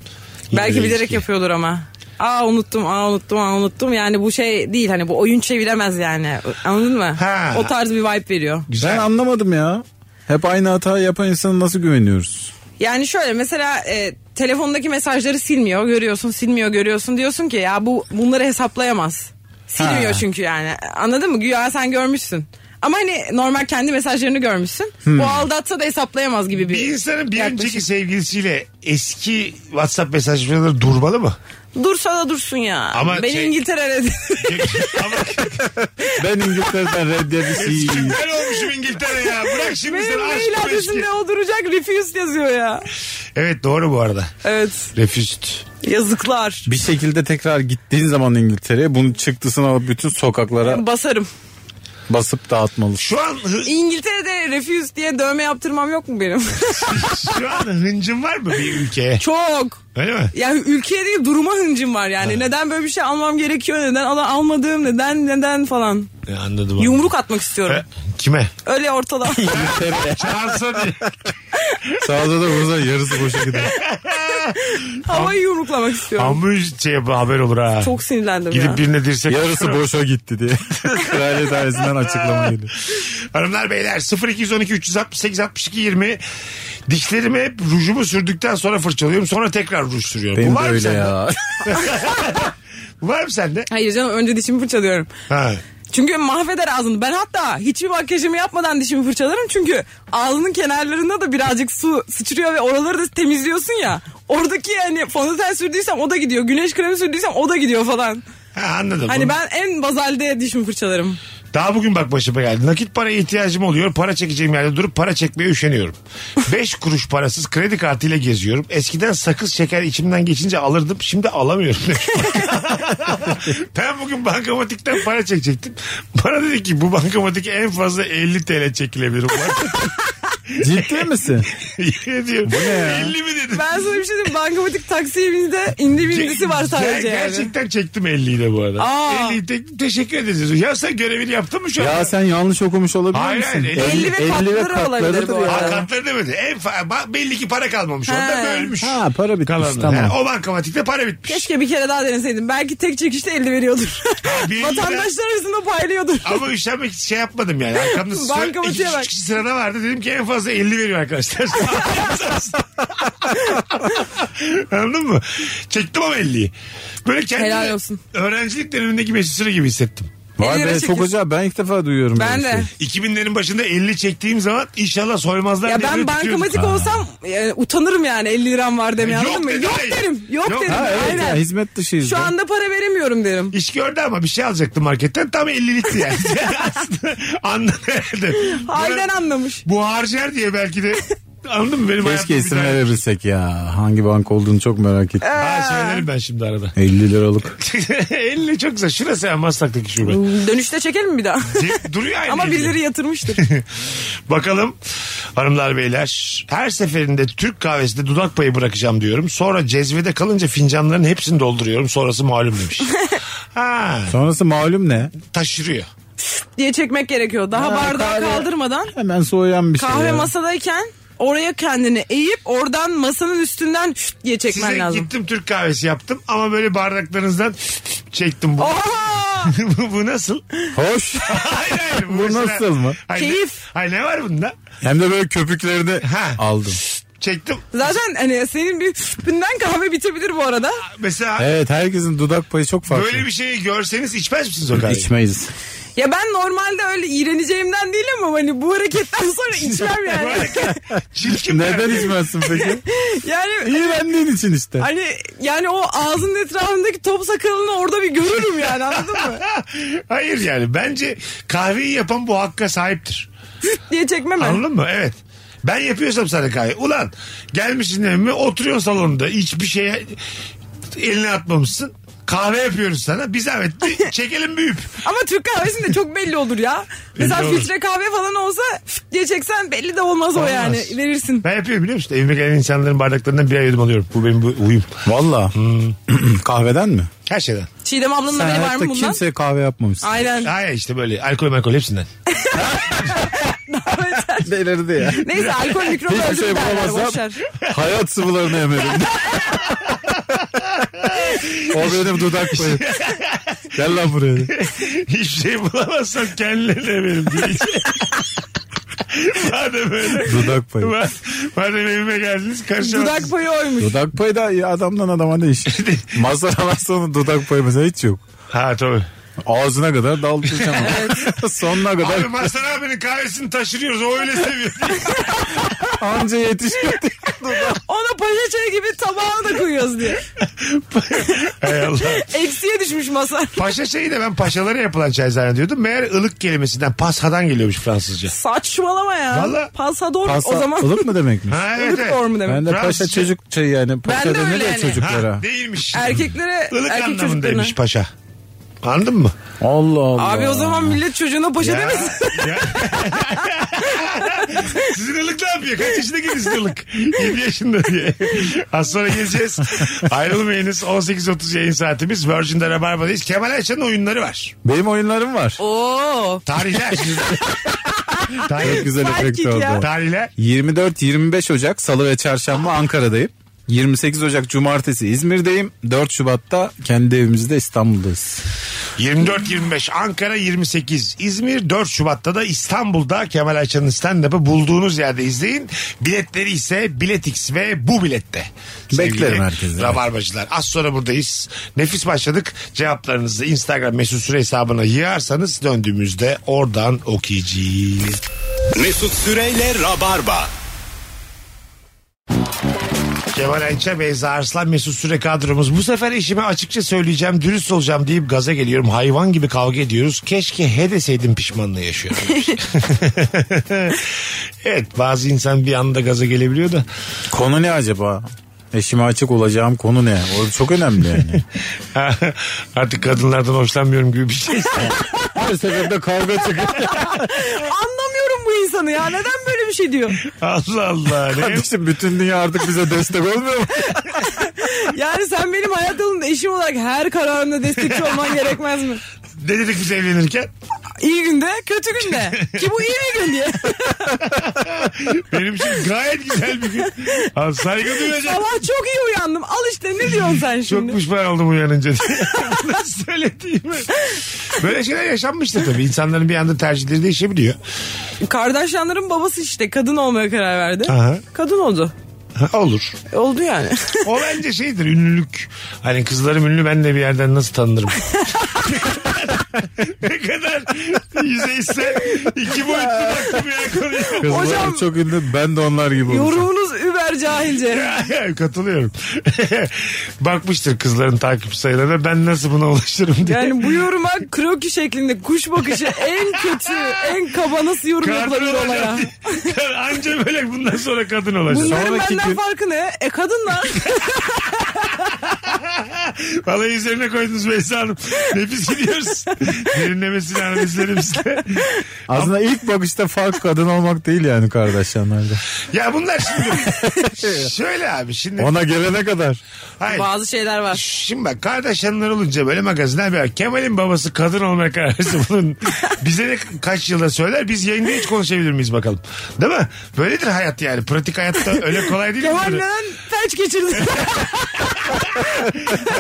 [SPEAKER 3] Yine de
[SPEAKER 4] Belki bilerek
[SPEAKER 3] ilişki.
[SPEAKER 4] yapıyordur ama. Aa unuttum, aa unuttum, aa unuttum. Yani bu şey değil hani bu oyun çeviremez yani. Anladın mı?
[SPEAKER 3] Ha.
[SPEAKER 4] O tarz bir vibe veriyor.
[SPEAKER 5] Ben anlamadım ya. Hep aynı hata yapan insana nasıl güveniyoruz?
[SPEAKER 4] Yani şöyle mesela e, telefondaki mesajları silmiyor, görüyorsun, silmiyor, görüyorsun. Diyorsun ki ya bu bunları hesaplayamaz. Silmiyor çünkü yani. Anladın mı? Güya sen görmüşsün. Ama hani normal kendi mesajlarını görmüşsün. O aldatsa da hesaplayamaz gibi bir
[SPEAKER 3] Hmm. Bir insanın bir
[SPEAKER 4] yaklaşım.
[SPEAKER 3] önceki sevgilisiyle eski WhatsApp mesajları durmalı
[SPEAKER 4] (laughs)
[SPEAKER 3] mı?
[SPEAKER 4] Dursa da dursun ya.
[SPEAKER 3] Ama
[SPEAKER 4] ben
[SPEAKER 3] şey- (laughs)
[SPEAKER 4] İngiltere'de.
[SPEAKER 3] Ama
[SPEAKER 5] Ben İngiltere'den reddedisiyim.
[SPEAKER 3] ben olmuşum İngiltere ya. Bırak şimdi sen
[SPEAKER 4] Benim
[SPEAKER 3] aşk
[SPEAKER 4] mail
[SPEAKER 3] bu eski.
[SPEAKER 4] adresimde o duracak refuse yazıyor ya.
[SPEAKER 3] Evet doğru bu arada.
[SPEAKER 4] Evet.
[SPEAKER 3] Refüst.
[SPEAKER 4] Yazıklar.
[SPEAKER 5] Bir şekilde tekrar gittiğin zaman İngiltere'ye bunun çıktısını alıp bütün sokaklara
[SPEAKER 4] Basarım.
[SPEAKER 5] basıp dağıtmalısın.
[SPEAKER 3] Şu an hı-
[SPEAKER 4] İngiltere'de refuse diye dövme yaptırmam yok mu benim?
[SPEAKER 3] şu an hıncın var mı bir ülkeye?
[SPEAKER 4] (laughs) Çok.
[SPEAKER 3] Öyle mi?
[SPEAKER 4] Yani ülkeye değil duruma hıncım var yani. Neden böyle bir şey almam gerekiyor? Neden al almadığım neden neden falan.
[SPEAKER 3] E, anladım.
[SPEAKER 4] Yumruk atmak istiyorum.
[SPEAKER 3] Ha, Kime?
[SPEAKER 4] Öyle ortada.
[SPEAKER 3] Çağırsa (laughs) diye.
[SPEAKER 5] Sağda da vursa yarısı boşa gider.
[SPEAKER 4] Havayı yumruklamak istiyorum.
[SPEAKER 3] Amma şey yap- haber olur ha.
[SPEAKER 4] Çok sinirlendim ya.
[SPEAKER 3] Gidip birine dirsek.
[SPEAKER 5] Yarısı boşa gitti diye. Kraliyet ailesinden açıklama geliyor.
[SPEAKER 3] (laughs) Hanımlar beyler 0212 368 62 20 dişlerimi hep rujumu sürdükten sonra fırçalıyorum sonra tekrar ruj sürüyorum.
[SPEAKER 5] Benim
[SPEAKER 3] Bu
[SPEAKER 5] de
[SPEAKER 3] var mı
[SPEAKER 5] öyle
[SPEAKER 3] sende?
[SPEAKER 5] ya.
[SPEAKER 3] Bu var mı sende?
[SPEAKER 4] Hayır canım önce dişimi fırçalıyorum.
[SPEAKER 3] Ha.
[SPEAKER 4] Çünkü mahveder ağzını. Ben hatta hiçbir makyajımı yapmadan dişimi fırçalarım. Çünkü ağzının kenarlarında da birazcık su sıçrıyor ve oraları da temizliyorsun ya. Oradaki yani fondöten sürdüysem o da gidiyor. Güneş kremi sürdüysem o da gidiyor falan.
[SPEAKER 3] ha anladım.
[SPEAKER 4] Hani
[SPEAKER 3] Bunu-
[SPEAKER 4] ben en bazalde dişimi fırçalarım.
[SPEAKER 3] Daha bugün bak başıma geldi. Nakit paraya ihtiyacım oluyor. Para çekeceğim yerde durup para çekmeye
[SPEAKER 4] (laughs)
[SPEAKER 3] üşeniyorum. 5 kuruş parasız kredi kartıyla geziyorum. Eskiden sakız şeker içimden geçince alırdım. Şimdi alamıyorum. (laughs) demiş. ben bugün bankamatikten para çekecektim. Bana dedi ki bu bankamatik en fazla 50 TL çekilebilir. (laughs)
[SPEAKER 5] Ciddi misin?
[SPEAKER 3] Yemin ediyorum. Bu ne
[SPEAKER 5] ya?
[SPEAKER 3] 50 mi dedim.
[SPEAKER 4] Ben sana bir şey diyeyim. Bankamatik taksiye bindi. indi bindisi var sadece
[SPEAKER 3] Ger-
[SPEAKER 4] yani.
[SPEAKER 3] Gerçekten çektim 50'yi de bu arada.
[SPEAKER 4] Aa.
[SPEAKER 3] 50'yi te- teşekkür ederiz. Ya sen görevini yaptın mı şu an?
[SPEAKER 5] Ya sen yanlış okumuş olabilir
[SPEAKER 3] Hayır,
[SPEAKER 5] misin?
[SPEAKER 3] hayır,
[SPEAKER 5] Elli-
[SPEAKER 4] elli ve
[SPEAKER 5] elli
[SPEAKER 4] katları olabilir bu
[SPEAKER 5] katlarıdır ya.
[SPEAKER 4] arada.
[SPEAKER 3] Hakatları demedi. En fa- ba- belli ki para kalmamış orada
[SPEAKER 4] He.
[SPEAKER 3] bölmüş.
[SPEAKER 5] Ha para bitmiş
[SPEAKER 3] Kalanı.
[SPEAKER 5] tamam.
[SPEAKER 3] Yani o bankamatikte para bitmiş.
[SPEAKER 4] Keşke bir kere daha deneseydim. Belki tek çekişte elde veriyordur.
[SPEAKER 3] bir lira-
[SPEAKER 4] (laughs) Vatandaşlar arasında paylıyordur.
[SPEAKER 3] Ama üşenmek için şey yapmadım yani.
[SPEAKER 4] (laughs)
[SPEAKER 3] Arkamda sıra-
[SPEAKER 4] Bankamatiğe
[SPEAKER 3] iki, üç
[SPEAKER 4] bak.
[SPEAKER 3] kişi sırada vardı. Dedim ki en fazla 50 veriyor arkadaşlar. (laughs) Anladın mı? Çektim ama 50'yi. Böyle kendimi
[SPEAKER 4] Helal olsun.
[SPEAKER 3] öğrencilik dönemindeki mesut süre gibi hissettim.
[SPEAKER 5] Vay
[SPEAKER 4] Elli lira
[SPEAKER 5] be çok
[SPEAKER 4] çekiyorsun.
[SPEAKER 5] acayip ben ilk defa duyuyorum.
[SPEAKER 4] Ben
[SPEAKER 5] böyle bir
[SPEAKER 4] de.
[SPEAKER 3] 2000'lerin başında 50 çektiğim zaman inşallah soymazlar
[SPEAKER 4] Ya
[SPEAKER 3] diye
[SPEAKER 4] ben
[SPEAKER 3] böyle tutuyordum.
[SPEAKER 4] bankamatik olsam e, utanırım yani 50 liram var demeye
[SPEAKER 3] Yok
[SPEAKER 4] anladın mı?
[SPEAKER 3] dedi,
[SPEAKER 4] Yok
[SPEAKER 3] hayır.
[SPEAKER 4] derim. Yok,
[SPEAKER 3] Yok.
[SPEAKER 4] derim.
[SPEAKER 5] Ha evet
[SPEAKER 4] Aynen.
[SPEAKER 5] ya, hizmet dışıyız.
[SPEAKER 4] Şu
[SPEAKER 5] be.
[SPEAKER 4] anda para veremiyorum derim.
[SPEAKER 3] İş gördü ama bir şey alacaktım marketten. Tam 50'likti yani. (laughs) Aslında Anladı herhalde.
[SPEAKER 4] Halden anlamış.
[SPEAKER 3] Bu harcar diye belki de (laughs) anladın mı benim hayatım
[SPEAKER 5] Keşke
[SPEAKER 3] bir
[SPEAKER 5] isim
[SPEAKER 3] tane-
[SPEAKER 5] verebilsek ya. Hangi banka olduğunu çok merak ettim.
[SPEAKER 3] Ha söylerim ben şimdi arada. (laughs)
[SPEAKER 5] 50 liralık.
[SPEAKER 3] 50 çok güzel. Şurası ya Maslak'taki şube.
[SPEAKER 5] (laughs)
[SPEAKER 4] Dönüşte çekelim bir daha.
[SPEAKER 3] Ce- Duruyor aynı.
[SPEAKER 4] Ama
[SPEAKER 3] elli.
[SPEAKER 4] birileri yatırmıştır.
[SPEAKER 3] Bakalım hanımlar beyler. Her seferinde Türk kahvesinde dudak payı bırakacağım diyorum. Sonra cezvede kalınca fincanların hepsini dolduruyorum. Sonrası malum
[SPEAKER 5] (laughs)
[SPEAKER 3] demiş. ha,
[SPEAKER 5] Sonrası malum ne?
[SPEAKER 3] taşırıyor.
[SPEAKER 4] diye çekmek gerekiyor. Daha
[SPEAKER 5] Ha,
[SPEAKER 4] bardağı
[SPEAKER 5] kahve.
[SPEAKER 4] kaldırmadan
[SPEAKER 5] Hemen soğuyan bir şey.
[SPEAKER 4] kahve
[SPEAKER 5] ya.
[SPEAKER 4] masadayken oraya kendini eğip oradan masanın üstünden şut diye çekmen
[SPEAKER 3] Size
[SPEAKER 4] lazım.
[SPEAKER 3] gittim Türk kahvesi yaptım ama böyle bardaklarınızdan çektim
[SPEAKER 5] Oh!
[SPEAKER 3] bunu.
[SPEAKER 4] Oha!
[SPEAKER 3] bu, (laughs) bu nasıl? (laughs)
[SPEAKER 4] (laughs)
[SPEAKER 5] Hoş.
[SPEAKER 3] hayır hayır.
[SPEAKER 5] Bu nasıl mı?
[SPEAKER 3] Hayır,
[SPEAKER 4] Keyif.
[SPEAKER 3] Hayır ne var bunda?
[SPEAKER 5] Hem de böyle köpüklerini
[SPEAKER 3] Ha.
[SPEAKER 5] aldım.
[SPEAKER 3] Çektim.
[SPEAKER 4] Zaten hani senin bir şüphinden kahve bitebilir bu arada.
[SPEAKER 3] Mesela
[SPEAKER 5] Evet herkesin dudak payı çok farklı.
[SPEAKER 4] şey
[SPEAKER 3] böyle bir şeyi görseniz içmez misiniz o kahveyi?
[SPEAKER 5] İçmeyiz.
[SPEAKER 4] Ya ben normalde öyle iğreneceğimden değil ama hani bu hareketten sonra içmem
[SPEAKER 3] Bu (laughs)
[SPEAKER 4] yani.
[SPEAKER 3] hareket Çirkin bir
[SPEAKER 5] Neden
[SPEAKER 3] hareket.
[SPEAKER 5] içmezsin
[SPEAKER 4] (laughs)
[SPEAKER 5] peki?
[SPEAKER 4] yani
[SPEAKER 5] İğrendiğin için işte.
[SPEAKER 4] hani yani o ağzının etrafındaki top sakalını orada bir görürüm yani anladın mı?
[SPEAKER 3] (laughs) Hayır yani bence kahveyi yapan bu hakka sahiptir.
[SPEAKER 4] diye çekmem ben.
[SPEAKER 3] Anladın mı? Evet. Ben yapıyorsam sana kahve. Ulan gelmişsin evime oturuyorsun salonda hiçbir şeye elini şey atmamışsın. kahve yapıyoruz sana. Biz evet çekelim büyüp.
[SPEAKER 4] Ama Türk kahvesinde çok belli olur ya. Mesela
[SPEAKER 3] olur.
[SPEAKER 4] filtre kahve falan olsa "Fıt" diye çeksen belli de olmaz, o
[SPEAKER 3] Olmaz.
[SPEAKER 4] yani. Verirsin.
[SPEAKER 3] Ben yapıyorum biliyor musun? Evime gelen insanların bardaklarından bir yudum alıyorum. Bu benim bu uyum.
[SPEAKER 5] Valla. (clears throat) Kahveden mi?
[SPEAKER 3] Her şeyden.
[SPEAKER 4] Çiğdem ablanın
[SPEAKER 5] Sen
[SPEAKER 4] haberi Hmm. var
[SPEAKER 5] hayatta
[SPEAKER 4] mı bundan?
[SPEAKER 5] kimseye kahve yapmamışsın.
[SPEAKER 4] Aynen. (laughs)
[SPEAKER 3] Hayır işte böyle alkol alkol hepsinden.
[SPEAKER 5] Delirdi
[SPEAKER 4] (laughs)
[SPEAKER 5] ya.
[SPEAKER 4] Neyse alkol mikrobu
[SPEAKER 5] Hiçbir
[SPEAKER 4] öldürür
[SPEAKER 5] şey
[SPEAKER 4] derler
[SPEAKER 5] bulamazsam-
[SPEAKER 4] boşver.
[SPEAKER 5] Hayat
[SPEAKER 4] (laughs)
[SPEAKER 5] sıvılarını emerim. o benim dudak payı. Gel lan buraya.
[SPEAKER 3] Hiçbir şey bulamazsan kendilerine benim
[SPEAKER 4] (laughs)
[SPEAKER 3] diyeceğim. Madem öyle.
[SPEAKER 5] Dudak payı.
[SPEAKER 3] Ma- Madem evime geldiniz
[SPEAKER 4] Dudak
[SPEAKER 3] karşılamazsınız.
[SPEAKER 4] payı oymuş.
[SPEAKER 5] Dudak payı da ya adamdan adama değişir. Mazhar Alaslan'ın dudak payı mesela hiç yok.
[SPEAKER 3] Ha tabii.
[SPEAKER 5] Ağzına kadar daldıracağım. (laughs) Sonuna kadar
[SPEAKER 3] Abi Mahsen abinin kahvesini taşırıyoruz. O öyle seviyor.
[SPEAKER 4] (laughs)
[SPEAKER 5] anca yetişiyor.
[SPEAKER 4] Ona paşa çayı gibi tabağına da koyuyoruz diye.
[SPEAKER 3] Hay Allah.
[SPEAKER 4] Eksiye düşmüş masa.
[SPEAKER 3] Paşa şeyi de ben paşalara yapılan çay zannediyordum. Meğer ılık kelimesinden pashadan geliyormuş Fransızca.
[SPEAKER 4] Saçmalama ya.
[SPEAKER 3] Valla.
[SPEAKER 4] Pasador o zaman.
[SPEAKER 5] Ilık mı demekmiş?
[SPEAKER 3] Ha evet evet.
[SPEAKER 4] Ilıkdor mu demek?
[SPEAKER 5] Ben de
[SPEAKER 3] Fransızca.
[SPEAKER 5] paşa çocuk çayı yani. Paşa
[SPEAKER 4] de öyle
[SPEAKER 5] denir ya
[SPEAKER 4] yani.
[SPEAKER 5] çocuklara.
[SPEAKER 3] Ha, değilmiş.
[SPEAKER 4] Erkeklere,
[SPEAKER 3] Ilık
[SPEAKER 4] Er- erkek çocuklarına.
[SPEAKER 3] anlamındaymış paşa. Anladın mı?
[SPEAKER 5] Allah Allah.
[SPEAKER 4] Abi o zaman millet çocuğuna paşa
[SPEAKER 3] Ya,
[SPEAKER 5] (laughs)
[SPEAKER 4] demesin.
[SPEAKER 3] ya. Sizin ılık ne yapıyor? Kaç yaşında sizin ılık? 7 yaşında diye. Az sonra geleceğiz. Ayrılmayınız. 18.30 yayın saatimiz. Virgin'de Rabarba'dayız. Kemal Ayça'nın oyunları var.
[SPEAKER 5] Benim oyunlarım var.
[SPEAKER 4] Oo.
[SPEAKER 3] Tarihler.
[SPEAKER 5] Çok
[SPEAKER 3] Tarih,
[SPEAKER 5] güzel
[SPEAKER 4] Fark
[SPEAKER 5] efekt
[SPEAKER 4] ya.
[SPEAKER 5] oldu.
[SPEAKER 3] tarihler.
[SPEAKER 5] 24-25 Ocak Salı ve Çarşamba Ankara'dayım. 28 Ocak Cumartesi İzmir'deyim. 4 Şubat'ta kendi evimizde İstanbul'dayız.
[SPEAKER 3] 24-25 Ankara 28 İzmir 4 Şubat'ta da İstanbul'da Kemal Ayça'nın stand-up'ı bulduğunuz yerde izleyin. Biletleri ise Biletix ve bu bilette. Sevgili
[SPEAKER 5] Beklerim herkesi.
[SPEAKER 3] Rabarbacılar. Az sonra buradayız. Nefis başladık. Cevaplarınızı Instagram mesut süre hesabına yığarsanız döndüğümüzde oradan okuyacağız.
[SPEAKER 2] Mesut Süreyle Rabarba.
[SPEAKER 3] Kemal Ayça, Beyza Arslan, Mesut Süre kadromuz. Bu sefer işime açıkça söyleyeceğim, dürüst olacağım deyip gaza geliyorum. Hayvan gibi kavga ediyoruz. Keşke he deseydim pişmanlığı yaşıyorum. evet bazı insan bir anda gaza gelebiliyor da. (laughs)
[SPEAKER 5] Konu ne acaba? Eşime açık olacağım konu ne? O çok önemli yani.
[SPEAKER 3] Artık kadınlardan hoşlanmıyorum gibi bir şey.
[SPEAKER 5] (laughs) Her seferinde kavga çıkıyor.
[SPEAKER 4] Anlamıyorum bu insanı ya. Neden böyle bir şey diyor?
[SPEAKER 3] Allah Allah. Ne?
[SPEAKER 5] (laughs) Kardeşim bütün dünya artık bize destek olmuyor mu?
[SPEAKER 4] Yani sen benim hayat yolunda eşim olarak her kararımda destekçi olman gerekmez mi?
[SPEAKER 3] ne dedik biz evlenirken?
[SPEAKER 4] İyi günde, kötü günde. Ki bu iyi bir gün
[SPEAKER 5] (laughs)
[SPEAKER 4] diye.
[SPEAKER 3] Benim için gayet güzel bir gün. Ha, saygı duyacak.
[SPEAKER 4] Sabah çok iyi uyandım. Al işte ne diyorsun sen şimdi?
[SPEAKER 3] Çok pişman oldum uyanınca (laughs) diye. Nasıl söylediğimi. Böyle şeyler yaşanmıştır tabii. İnsanların bir anda tercihleri değişebiliyor.
[SPEAKER 4] Kardeşlerin babası işte kadın olmaya karar verdi.
[SPEAKER 3] Aha.
[SPEAKER 4] Kadın oldu.
[SPEAKER 3] Ha, olur.
[SPEAKER 4] E, Oldu yani.
[SPEAKER 3] O bence şeydir ünlülük. Hani kızlarım ünlü ben de bir yerden nasıl tanınırım? (laughs) ne kadar yüzeyse iki boyutlu baktım ya konuya.
[SPEAKER 5] Kızlar
[SPEAKER 4] Hocam-
[SPEAKER 5] çok ünlü ben de onlar gibi olacağım.
[SPEAKER 4] Yorumunuz über cahilce.
[SPEAKER 3] (laughs) Katılıyorum. (laughs) Bakmıştır kızların takip sayılarına ben nasıl buna ulaşırım diye.
[SPEAKER 4] Yani bu yoruma kroki şeklinde kuş bakışı en kötü, en kaba nasıl yorum
[SPEAKER 3] kadın
[SPEAKER 4] yapılabilir olaya?
[SPEAKER 3] olacağım. diye. (laughs) Anca böyle bundan sonra kadın olacağım.
[SPEAKER 4] Bunların
[SPEAKER 5] Sonraki
[SPEAKER 4] benden
[SPEAKER 5] gün-
[SPEAKER 4] farkı ne?
[SPEAKER 3] (laughs)
[SPEAKER 4] E kadınlar.
[SPEAKER 3] Vallahi üzerine koydunuz Beyza Hanım. Nefis gidiyoruz. Derinlemesine analizlerim size.
[SPEAKER 5] Aslında ilk bakışta fark kadın olmak değil yani kardeşlerlerde.
[SPEAKER 3] Ya bunlar şimdi. şöyle abi şimdi.
[SPEAKER 5] Ona gelene kadar.
[SPEAKER 3] Hayır.
[SPEAKER 4] Bazı şeyler var.
[SPEAKER 3] Şimdi bak kardeş yanları olunca böyle magazin haber. var. Kemal'in babası kadın olmaya karar verse (laughs) bunun bize de kaç yılda söyler biz yayında hiç konuşabilir miyiz bakalım. Değil mi? Böyledir hayat yani. Pratik hayatta öyle kolay değil.
[SPEAKER 4] Kemal
[SPEAKER 3] bunları.
[SPEAKER 4] neden
[SPEAKER 3] (laughs)
[SPEAKER 4] felç geçirdi?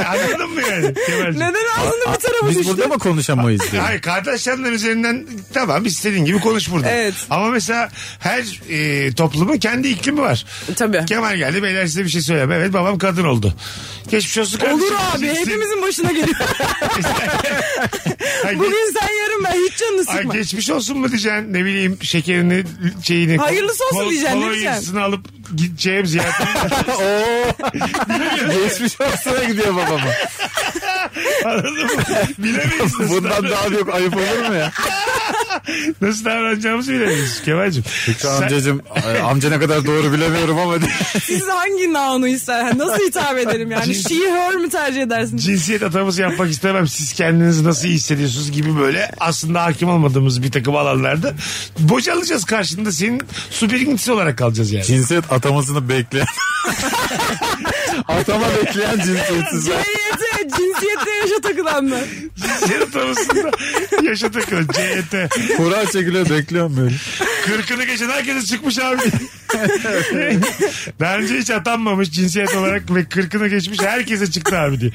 [SPEAKER 3] Anladın mı yani? Kemal'cim?
[SPEAKER 4] neden ağzını bir tarafa
[SPEAKER 5] Biz
[SPEAKER 4] düştü?
[SPEAKER 5] burada mı konuşamayız diye.
[SPEAKER 3] Hayır kardeş yanlar üzerinden tamam istediğin gibi konuş burada.
[SPEAKER 4] Evet.
[SPEAKER 3] Ama mesela her e, toplumun kendi iklimi var.
[SPEAKER 4] Tabii.
[SPEAKER 3] Kemal geldi beyler size bir şey söyleyeyim. Evet babam kadın oldu. Geçmiş olsun
[SPEAKER 4] Olur
[SPEAKER 3] kardeşim.
[SPEAKER 4] abi
[SPEAKER 3] Siz- (laughs)
[SPEAKER 4] hepimizin başına geliyor.
[SPEAKER 3] Ay,
[SPEAKER 4] Bugün sen yarın ben hiç canını
[SPEAKER 3] Ay
[SPEAKER 4] sıkma.
[SPEAKER 3] geçmiş olsun mu diyeceksin ne bileyim şekerini şeyini.
[SPEAKER 4] Hayırlısı olsun diyeceksin, ne diyeceksin?
[SPEAKER 3] kolonyasını alıp gideceğim ziyaret.
[SPEAKER 5] (laughs) Oo. Geçmiş olsuna gidiyor babama.
[SPEAKER 3] Anladın mı? Bilemeyiz. nasıl
[SPEAKER 5] Bundan daha büyük ayıp olur mu ya?
[SPEAKER 3] (laughs) Nasıl davranacağımızı bilemeyiz Kemal'cim.
[SPEAKER 5] Şu amcacım e, amca ne kadar doğru bilemiyorum ama
[SPEAKER 4] Siz hangi naunu ister? Nasıl hitap ederim yani?
[SPEAKER 3] Cins-
[SPEAKER 4] She her mü tercih edersiniz?
[SPEAKER 3] cinsiyet ataması yapmak istemem. Siz kendinizi nasıl iyi hissediyorsunuz gibi böyle aslında hakim olmadığımız bir takım alanlarda bocalayacağız karşında senin su birikintisi olarak kalacağız yani.
[SPEAKER 5] cinsiyet atamasını bekleyen (laughs) atama bekleyen cinsiyetsizler.
[SPEAKER 4] Cinsiyete, cinsiyette yaşa
[SPEAKER 3] (laughs)
[SPEAKER 4] takılanlar.
[SPEAKER 3] Cinsiyet atamasında (laughs) yaşa takıl. CET.
[SPEAKER 5] Kura çekiliyor bekliyorum böyle.
[SPEAKER 3] Kırkını geçen herkese çıkmış abi. Daha önce hiç atanmamış cinsiyet olarak ve kırkını geçmiş herkese çıktı abi diye.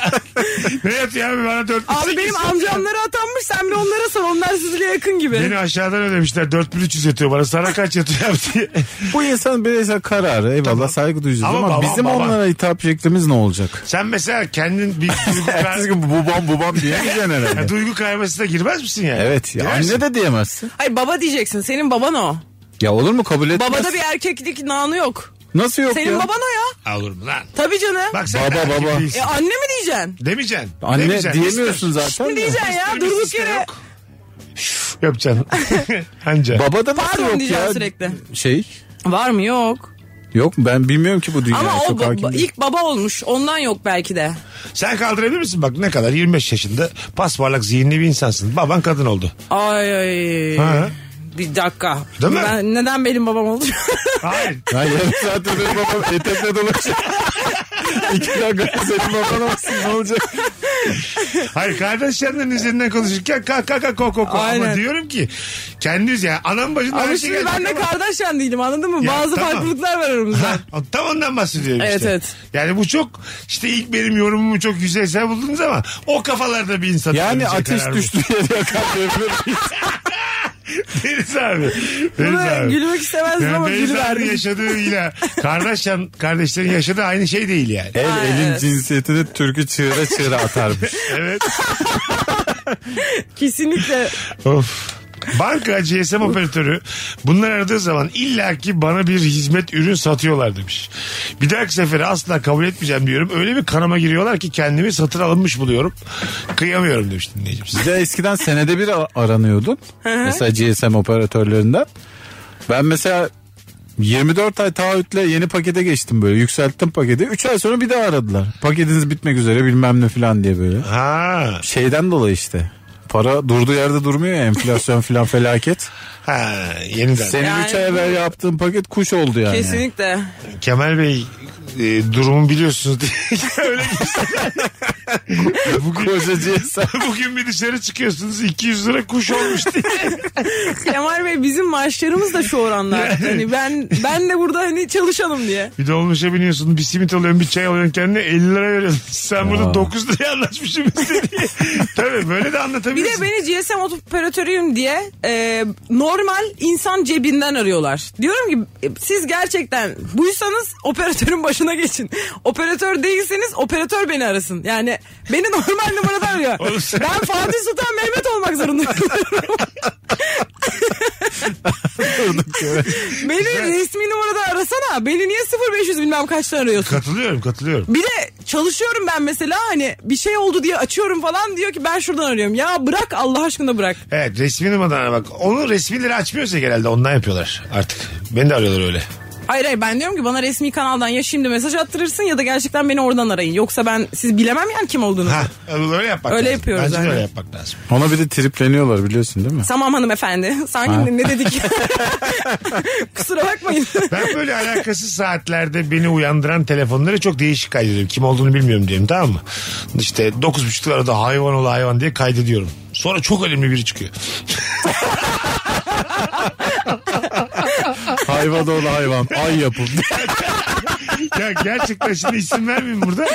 [SPEAKER 3] (laughs) ne yatıyor abi bana dört
[SPEAKER 4] Abi benim amcamlara atanmış sen bir onlara sor. Onlar sizle yakın gibi.
[SPEAKER 3] Beni aşağıdan ödemişler 4300 yatıyor bana sana kaç yatıyor abi diye.
[SPEAKER 5] Bu insan bireysel kararı eyvallah saygı duyacağız
[SPEAKER 3] Ama
[SPEAKER 5] ama,
[SPEAKER 3] babam,
[SPEAKER 5] bizim
[SPEAKER 3] babam.
[SPEAKER 5] onlara hitap şeklimiz ne olacak?
[SPEAKER 3] Sen mesela kendin bir
[SPEAKER 5] (laughs)
[SPEAKER 3] duygu,
[SPEAKER 5] Ertesi
[SPEAKER 3] kay-
[SPEAKER 5] gün bubam bubam diyemeyeceksin herhalde.
[SPEAKER 3] Ya duygu kaymasına girmez misin yani?
[SPEAKER 5] Evet ya
[SPEAKER 3] Girersin.
[SPEAKER 5] anne de diyemezsin.
[SPEAKER 4] Hayır baba diyeceksin. Senin baban o.
[SPEAKER 5] Ya olur mu kabul etmez.
[SPEAKER 4] Babada bir erkeklik nanı yok.
[SPEAKER 5] Nasıl yok
[SPEAKER 4] Senin
[SPEAKER 5] ya?
[SPEAKER 4] baban o ya.
[SPEAKER 3] Olur mu lan?
[SPEAKER 4] Tabii canım.
[SPEAKER 3] Bak sen
[SPEAKER 5] Baba,
[SPEAKER 3] de erkek
[SPEAKER 5] baba.
[SPEAKER 3] değilsin.
[SPEAKER 4] E anne mi diyeceksin?
[SPEAKER 3] Demeyeceksin.
[SPEAKER 5] Anne
[SPEAKER 3] Demeyeceksin.
[SPEAKER 5] diyemiyorsun zaten.
[SPEAKER 4] Ne
[SPEAKER 5] de.
[SPEAKER 4] diyeceksin ya?
[SPEAKER 3] İster-
[SPEAKER 4] Durduk
[SPEAKER 3] ister
[SPEAKER 4] yere.
[SPEAKER 3] şey yok. Şuf Yapacaksın. (laughs) Anca.
[SPEAKER 5] Babada nasıl
[SPEAKER 4] Pardon
[SPEAKER 5] yok
[SPEAKER 4] diyeceksin
[SPEAKER 5] ya?
[SPEAKER 4] sürekli.
[SPEAKER 5] Şey
[SPEAKER 4] Var mı? Yok.
[SPEAKER 5] yok mu? ben bilmiyorum ki bu dünyayı
[SPEAKER 4] Ama o
[SPEAKER 5] çok
[SPEAKER 4] ba-
[SPEAKER 5] hakim değilim.
[SPEAKER 4] ilk baba olmuş. Ondan yok belki de.
[SPEAKER 3] Sen kaldırabilir misin? Bak ne kadar 25 yaşında pasparlak zihinli bir insansın. Baban kadın oldu.
[SPEAKER 4] Ay ay.
[SPEAKER 3] Ha.
[SPEAKER 4] Bir dakika.
[SPEAKER 3] Değil mi?
[SPEAKER 4] Ben, neden benim babam oldu?
[SPEAKER 3] Hayır.
[SPEAKER 5] Ya yarım saattir
[SPEAKER 4] (laughs)
[SPEAKER 5] benim babam etekle dolaşıyor. (laughs) İki dakika senin baban olsun ne olacak?
[SPEAKER 3] Hayır kardeşlerinin üzerinden konuşurken kalk kalk kalk kalk kalk. Ama
[SPEAKER 4] Aynen.
[SPEAKER 3] diyorum ki kendiniz ya anam başında
[SPEAKER 4] (laughs)
[SPEAKER 3] her
[SPEAKER 4] Ama
[SPEAKER 3] şey
[SPEAKER 4] şimdi ben de
[SPEAKER 3] gelecek ama-
[SPEAKER 4] kardeş yan değilim anladın mı?
[SPEAKER 3] Ya,
[SPEAKER 4] Bazı
[SPEAKER 3] tamam.
[SPEAKER 4] farklılıklar var aramızda.
[SPEAKER 3] Ha, tam ondan bahsediyorum
[SPEAKER 4] Evet,
[SPEAKER 3] işte.
[SPEAKER 4] evet.
[SPEAKER 3] Yani bu çok işte ilk benim yorumumu çok yüzeysel buldunuz ama o kafalarda bir insan.
[SPEAKER 5] Yani
[SPEAKER 3] ölecek
[SPEAKER 5] ateş
[SPEAKER 3] karar bu. (laughs)
[SPEAKER 5] düştü diye de yakar diyebilir miyiz?
[SPEAKER 3] Deniz abi. Deniz
[SPEAKER 4] Bunu
[SPEAKER 3] abi.
[SPEAKER 4] gülmek istemezdim
[SPEAKER 3] Yani
[SPEAKER 4] ama
[SPEAKER 3] Beyza'nın
[SPEAKER 4] gülüverdim. (laughs)
[SPEAKER 3] yaşadığıyla kardeşlerin, kardeşlerin yaşadığı aynı şey değil yani.
[SPEAKER 5] El
[SPEAKER 4] Ha,
[SPEAKER 5] elin
[SPEAKER 4] evet.
[SPEAKER 5] cinsiyetini türkü çığıra çığıra atarmış.
[SPEAKER 3] Evet.
[SPEAKER 4] Kesinlikle.
[SPEAKER 3] of. Banka GSM operatörü bunlar aradığı zaman illaki bana bir hizmet ürün satıyorlar demiş. Bir dahaki sefere asla kabul etmeyeceğim diyorum. Öyle bir kanama giriyorlar ki kendimi satın alınmış buluyorum. Kıyamıyorum demiş dinleyicim size.
[SPEAKER 5] Bir de eskiden senede bir a- aranıyordun. mesela GSM operatörlerinden. Ben mesela 24 ay taahhütle yeni pakete geçtim böyle. Yükselttim paketi. 3 ay sonra bir daha aradılar. Paketiniz bitmek üzere bilmem ne falan diye böyle.
[SPEAKER 3] Ha.
[SPEAKER 5] Şeyden dolayı işte. Para durduğu yerde durmuyor ya enflasyon (laughs) filan felaket.
[SPEAKER 3] Ha. Yeniden.
[SPEAKER 5] Senin
[SPEAKER 4] Yani-
[SPEAKER 5] 3 ay evvel yaptığın paket kuş oldu yani.
[SPEAKER 4] Kesinlikle.
[SPEAKER 3] Kemal Bey e, durumu biliyorsunuz diye. (laughs) Öyle Bugün,
[SPEAKER 5] Koca GSM.
[SPEAKER 3] bugün bir dışarı çıkıyorsunuz 200 lira kuş
[SPEAKER 4] (laughs)
[SPEAKER 3] olmuş diye.
[SPEAKER 4] Kemal Bey bizim maaşlarımız da şu oranlar. Hani ben ben de burada hani çalışalım diye.
[SPEAKER 3] Bir dolmuşa biniyorsun bir simit alıyorsun bir çay alıyorsun kendine 50 lira veriyorsun. (laughs) Sen burada
[SPEAKER 5] Ya.
[SPEAKER 3] 9 liraya anlaşmışsın biz de
[SPEAKER 4] (laughs)
[SPEAKER 3] diye. Tabii böyle de
[SPEAKER 4] Bir
[SPEAKER 3] anlatabilirsin.
[SPEAKER 4] de beni GSM operatörüyüm diye e, normal insan cebinden arıyorlar. Diyorum ki e, siz gerçekten buysanız operatörün başına geçin. Operatör değilseniz operatör beni arasın. Yani beni normal numaradan arıyor.
[SPEAKER 3] Oğlum sen-
[SPEAKER 4] Ben Fatih Sultan Mehmet
[SPEAKER 3] (laughs)
[SPEAKER 4] olmak zorundayım.
[SPEAKER 3] (laughs)
[SPEAKER 4] beni resmi numaradan arasana. Beni niye 0500 bilmem kaçtan arıyorsun?
[SPEAKER 3] Katılıyorum katılıyorum.
[SPEAKER 4] Bir de çalışıyorum ben mesela hani bir şey oldu diye açıyorum falan diyor ki ben şuradan arıyorum. Ya bırak Allah aşkına bırak.
[SPEAKER 3] Evet resmi numaradan bak. Onu resmileri açmıyorsa genelde ondan yapıyorlar artık. Beni de arıyorlar öyle.
[SPEAKER 4] Hayır hayır ben diyorum ki bana resmi kanaldan ya şimdi mesaj attırırsın ya da gerçekten beni oradan arayın. Yoksa ben siz bilemem yani kim olduğunu.
[SPEAKER 3] Ha, öyle yapmak
[SPEAKER 4] Öyle
[SPEAKER 3] lazım.
[SPEAKER 4] yapıyoruz
[SPEAKER 3] Bence de
[SPEAKER 4] aynen.
[SPEAKER 3] öyle yapmak lazım.
[SPEAKER 5] Ona bir de tripleniyorlar biliyorsun değil mi?
[SPEAKER 4] Tamam hanımefendi. (laughs) Sanki
[SPEAKER 5] Ha.
[SPEAKER 4] ne dedik? (laughs) Kusura
[SPEAKER 3] (laughs)
[SPEAKER 4] bakmayın.
[SPEAKER 3] Ben böyle alakasız saatlerde beni uyandıran telefonları çok değişik kaydediyorum. Kim olduğunu bilmiyorum diyorum tamam mı? İşte 9.30'da arada hayvan ol hayvan diye kaydediyorum. Sonra çok önemli biri çıkıyor.
[SPEAKER 5] Hayvan oğlu hayvan. Ay (laughs) yapım.
[SPEAKER 3] ya gerçekten şimdi isim vermeyeyim burada.